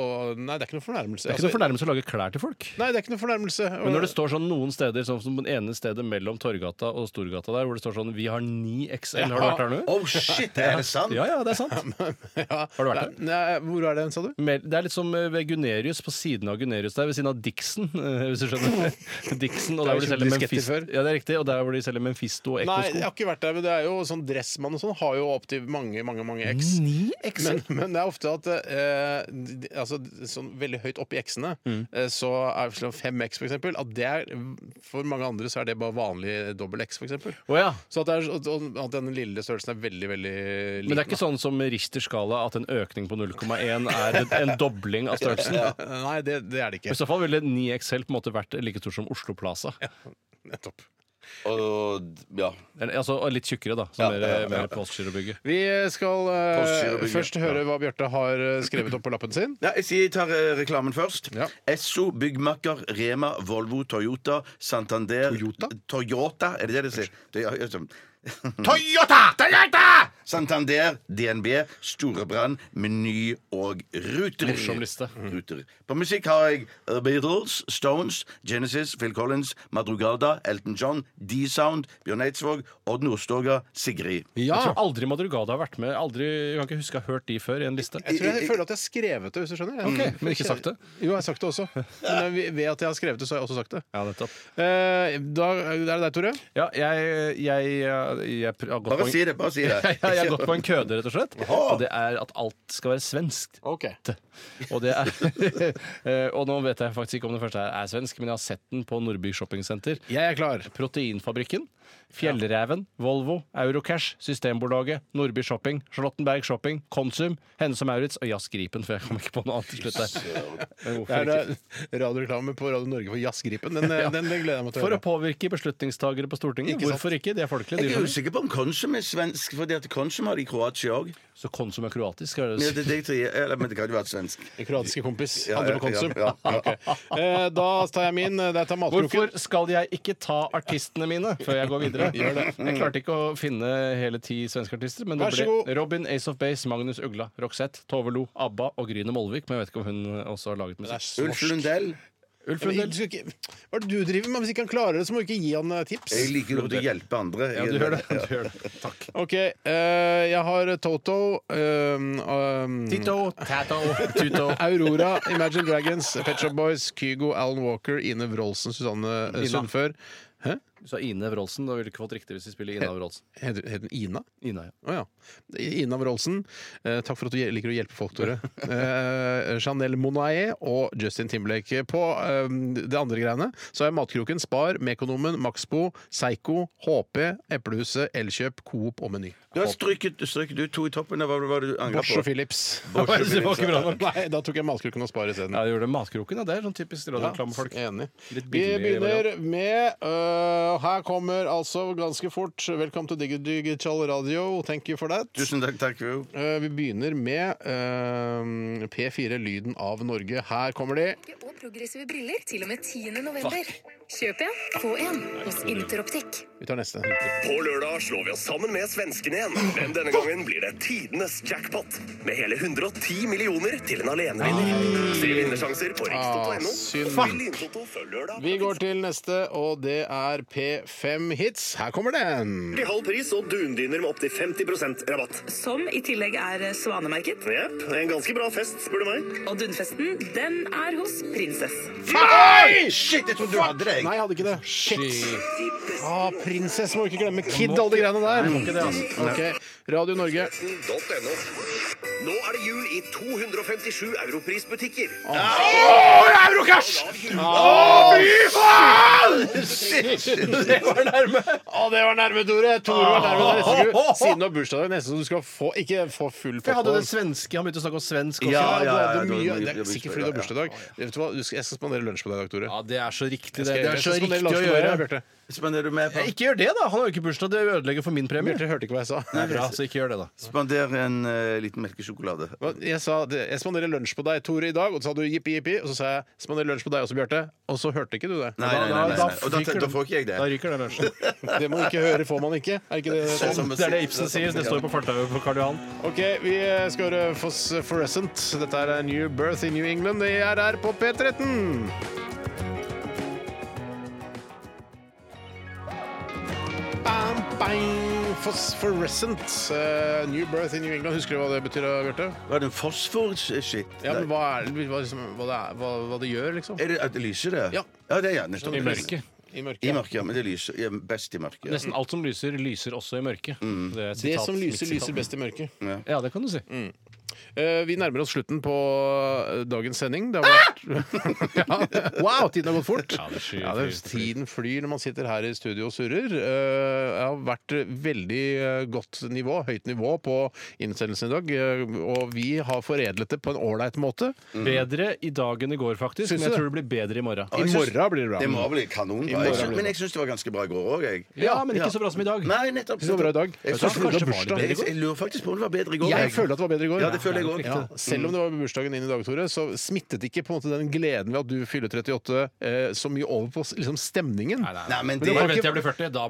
og, Nei, det er ikke noe fornærmelse.
Det er ikke
Altså,
noe fornærmelse å lage klær til folk.
Nei, det er ikke noe fornærmelse.
Men når det står sånn noen steder, sånn som på det ene stedet mellom Torgata og Storgata der, hvor det står sånn 'Vi har 9XL', har du vært der nå?
Oh shit, er det sant?
Ja, ja, det er sant.
ja,
Har du vært
nei, Nei, hvor er det, sa du?
Mer- Det er litt som eh, ved Gunerius, på siden av Gunerius der, ved siden av Dixon, eh, hvis du skjønner. Dixon, og
Det er jo kjøpt
der hvor de selger
disketter
Memphis.
før.
Ja, det er riktig, og der hvor de selger Mephisto
Nei,
og
jeg
Ekkosko.
har ikke vært der, men det er jo sånn Dressmann og sånn har jo opptil mange, mange mange X. Men, men det er ofte at eh, de- altså, sånn veldig høyt oppe i X-ene,
Mm.
eh, så er det sånn 5X for eksempel, at det er, for mange andre så er det bare vanlig dobbel X for eksempel.
Å ja.
Så at, det er, at- at den lille størrelsen er veldig, veldig liten.
Men det er ikke sånn som Richter-skala, at en økning på 0,1 er en- en dobling av størrelsen.
da. Nei, det, det er det
I
ikke.
så fall ville 9XL på en måte vært like stor som Oslo Plaza.
Nettopp.
Og ja.
Eller, Altså og litt tjukkere, da. Som
Ja,
mer,
ja, ja, ja.
mer Postgirobygget.
Vi skal eh,
Postgirobygget.
først høre hva Bjarte har eh, skrevet opp på lappen sin.
Ja, jeg sier jeg tar eh, reklamen først.
Ja.
Esso, Byggmakker, Rema, Volvo, Toyota, Santander
Toyota?
Toyota, er det det det sier? Det er- ja, sånn. Toyota! Toyota! Santander, DNB, Storebrand, Meny og Ruter. Mm.
Morsom liste.
Ruter. På musikk har jeg The Beatles, Stones, Genesis, Phil Collins, Madrugada, Elton John, D-Sound, Bjørn Eidsvåg, Odd Nordstoga, Sigrid.
Jeg tror aldri Madrugada har vært med. Aldri, jeg kan ikke huske å ha hørt de før i en liste.
Jeg tror jeg føler at jeg har skrevet det, hvis du skjønner. Mm.
Ok, men ikke sagt det?
Jo, jeg har sagt det også. Men jeg- ved at jeg har skrevet det, så har jeg også sagt det.
Ja, nettopp.
Eh, da er det deg, Tore.
Ja, jeg, jeg, jeg, pr- har gått på
Bare
en-
si det. bare si det
Jeg, jeg har gått på en køde, rett og slett. Og det er at alt skal være svenskt. Og, det er, Eh, og nå vet jeg faktisk ikke om det første her er svensk, men jeg har sett den på Nordby shoppingsenter.
Jeg er klar.
Proteinfabrikken, Fjellreven, Volvo, Eurocash, Systembolaget, Nordby Shopping, Charlottenberg Shopping, Konsum, Hennes og Maurits og Jazz Gripen, for jeg kom ikke på noe annet til slutt der. Men
Det er
hvorfor ikke?
eh, radioreklame på Radio Norge for Jazzgripen. Den, eh, den, den gleder jeg meg til å
For å
høre.
påvirke beslutningstagere på Stortinget.
Ikke sant?
Hvorfor ikke? De er folkelige.
Jeg
de
er
skjønner.
usikker på om Konsum er svensk, fordi at Konsum har det i Kroatia òg.
Så Konsum er kroatisk, er det
Ja,
det?
det,
du
det, tror jeg- eller, men det kan jo være svensk.
Min Kroatiske kompis.
Ja,
Andre
ja,
på Konsum.
ja, ja.
Ok. Eh, da tar jeg min. Der tar matkroken.
Hvorfor skal jeg ikke ta artistene mine før jeg går videre? Jeg klarte ikke å finne hele ti svenske artister, men det
Vær så
ble
god.
Robin, Ace of Base, Magnus Ugla, Roxette, Tove Lo, ABBA og Gryne Molvik. Men jeg vet ikke om hun også har laget
Det er
musikk.
snorsk.
Ulf Lundell.
Ulf
Ja, men
Lundell.
du skal ikke- Hva er det du driver med? Hvis ikke han klarer det, så må du ikke gi han eh, tips.
Jeg liker godt å hjelpe andre.
Ja, du gjør det. Du gjør det. Takk.
OK, eh, jeg har Toto ehm, ehm,
Tito, Tato, Tuto.
Aurora, Imagine Dragons, Pet Shop Boys, Kygo, Alan Walker, Ine Wroldsen, Susanne eh,
Ina.
Sundfør. Hæ?
Du sa Ine Wroldsen. Da ville du ikke fått riktig hvis de spiller Ina Wroldsen.
Heter heter hun Ina?
Ina, ja.
Å ja. Ina Wroldsen. Eh, takk for at du hj- liker å hjelpe folk, Tore. Eh, Chanel Monae og Justin Timberlake. På eh, det andre greiene så har jeg Matkroken, Spar, Mekonomen, Maxbo, Seigo, HP, Eplehuset, Elkjøp, Coop og Meny.
Du har stryket, stryket du to i toppen. Hva var det du angret
Bosch
på?
og Philips.
Bosch og
Det var ikke bra
Philips,
nok. Nei, da tok jeg Matkroken og Spar isteden.
Ja, du gjorde det. Matkroken, ja. Det er sånn typisk radioreklamefolk.
Ja, enig.
Litt
Vi
billigere
begynner
variant.
med øh, Her kommer altså ganske fort Velkommen til Digi- Digital Radio. Thank you for that.
Tusen takk, takk. Jo.
Eh, vi begynner med eh, P4 Lyden av Norge. Her kommer de.
og progressive briller til og med 10. november. Kjøp en, få en hos Interoptik.
Vi tar neste.
På lørdag slår vi oss sammen med svenskene igjen, men denne gangen blir det tidenes jackpot. Med hele 110 millioner til en alenevinner. Se vinnersjanser på
Ah,
rikstoto.no.
synd.
og spill Lyntoto før lørdag.
Vi går til neste, og det er P5 Hits. Her kommer den.
Til halv pris og dundyner med opptil 50 rabatt.
Som i tillegg er svanemerket.
Jepp. En ganske bra fest, spør du meg.
Og dunfesten, den er hos prinsess.
Nei!
Shit, jeg trodde du hadde det.
Nei, jeg hadde ikke det. Shit. Ah, prinsesse må ikke glemme Kid, alle de greiene der.
Nei, må ikke det, altså.
Ok, Radio Norge.
.no. Nå er det jul i 257 europrisbutikker.
Eurocash!
Å, fy
Det var nærme! Å, det var nærme, Tore. Tore var nærme. Det er nesten du- Siden du har bursdag, det er nesten så du skal få Ikke få full
For jeg hadde
pott på-
den svenske. Han begynte å snakke om svensk også.
Ja, ja, ja,
du hadde
det,
mye-
det er sikkert fordi du har bursdag i dag. Vet du hva? Du skal- Jeg skal spandere lunsj på deg i dag, Tore.
Ja, det er så
Jeg
riktig, det.
skal-
Det er
jeg
så
skal spandere
riktig å
lunsj sånn på deg,
gjøre.
Bjarte.
Spanderer du med på?
Ja, Ikke gjør det, da! Han har jo ikke bursdag. Det ødelegger for min premie.
Bjarte hørte ikke hva jeg sa.
Nei, bra, så ikke gjør det, da.
Spander en eh, liten melkesjokolade.
Hva- Jeg sa det, jeg spanderer lunsj på deg, Tore, i dag, og så sa du jippi jippi, og så sa jeg spanderer lunsj på deg også, Bjarte, og så hørte ikke du det.
Nei, nei, nei, nei, nei. Og da, da får ikke jeg det.
Da ryker det lunsjen.
Det man ikke hører, får man ikke. Er ikke det sånn?
Det er det Ibsen sier. Det står på fortauet på Karl Johan.
OK, vi skal høre Foss Fluorescent. Dette er New Birth in New England i RR på P13. Bam, bang, Phosphorescent. eh, New Birth in New England. Husker du hva det betyr, Bjarte?
Var det en fosfor-shit?
Ja, men hva, er, det- hva, liksom, hva, det er, hva, hva det gjør, liksom?
Er det at det lyser, det?
Ja.
det er ja, nettopp.
I mørket. I mørket,
I
ja.
mørket, ja, men det lyser ja, best i mørket.
Nesten alt som lyser, lyser også i mørket. Det, er et
Det
sitat,
som
mitt
lyser,
sitat.
lyser best i mørket.
Ja.
Ja, det kan du si.
Eh, Vi nærmer oss slutten på eh, dagens sending. Det har vært... ja. Wow, tiden har gått fort! Ja,
det skyr-
det er- tiden flyr når man sitter her i studio og surrer. Eh, Det har vært veldig eh, godt nivå, høyt nivå på innsendelsen i dag. eh, Og vi har foredlet det på en ålreit måte.
Bedre i dag enn i går, faktisk.
Syns
Men jeg
du det?
tror det blir bedre i morgen.
I morgen blir det bra.
Det må bli kanon.
I morgen
Jeg sy-
blir det
Men jeg syns det var ganske bra i går òg, jeg.
Ja, men ikke så bra som i dag.
Nei, nettopp.
Ikke så bra i dag.
Jeg,
Vet du hva,
synes-
kanskje
jeg-
var det bedre i går?
jeg lurer faktisk på om det var bedre i går.
Jeg føler at det var bedre i går.
Ja, det føler jeg òg.
Ja. Selv om det var bursdagen din i dag, Tore, så smittet ikke på en måte den gleden ved at du fyller 38 eh, så mye over på liksom, stemningen.
Nei, men
det-
det
Bare vent til jeg blir
40, da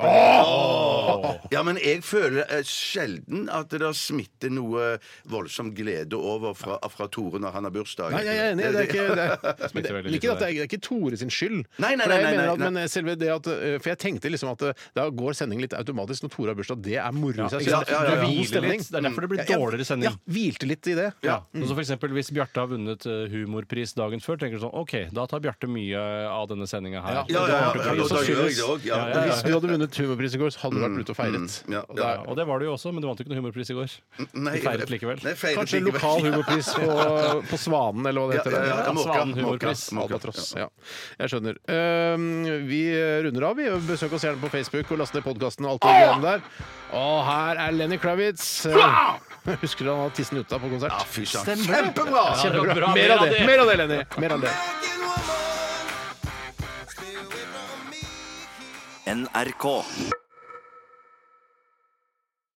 Ja, men jeg føler eh, sjelden at det da smitter noe voldsom glede over fra, fra Tore når han har bursdag.
Nei, jeg er enig. Det er ikke, det er, men det,
Smitter veldig
ikke
lite
at det, er, det er ikke Tore sin skyld.
Nei, nei, nei,
For jeg
nei,
mener at,
nei.
Men selve det at eh, For jeg tenkte liksom at eh, da går sendingen litt automatisk når Tore har bursdag. Det er moro i seg selv.
Ja, ja, ja, ja.
Det er god
Hviler
stemning.
litt. Det er derfor det blir
Mm. Ja, ja.
dårligere sending.
Ja, hvilte litt i det.
Ja. Så for eksempel, hvis Bjarte har vunnet eh, humorpris dagen før, tenker du sånn OK, da tar Bjarte mye av denne sendinga her.
Ja,
ja, ja, ja, ja,
Og så
da gjør jeg
skyldes-
det også, ja.
Ja, ja, ja.
Hvis du hadde vunnet humorpris i går, så hadde du vært ute og
Ja,
feiret. Og
ja.
da-
Ja, og det var det jo også, men du vant jo ikke noen humorpris i går.
Nei,
Du feiret likevel.
Nei, feiret
Kanskje
likevel.
lokal humorpris på, på Svanen, eller hva det
Ja,
heter.
ja, ja, ja, Måka,
Svanen
Måka,
humorpris.
Måka,
Albatross. Ja. Jeg skjønner. Ehm, vi runder av. vi. Besøk oss gjerne på Facebook og last ned podkasten. Og alt det greiene der. Og her er Lenny Kravitz. Jeg husker du han hadde tissen ute på konsert?
Ja, fy søren.
Stemmer det.
Kjempebra!
Ja, det var bra. Mer av det, mer av det, Lenny. Mer av det.
NRK.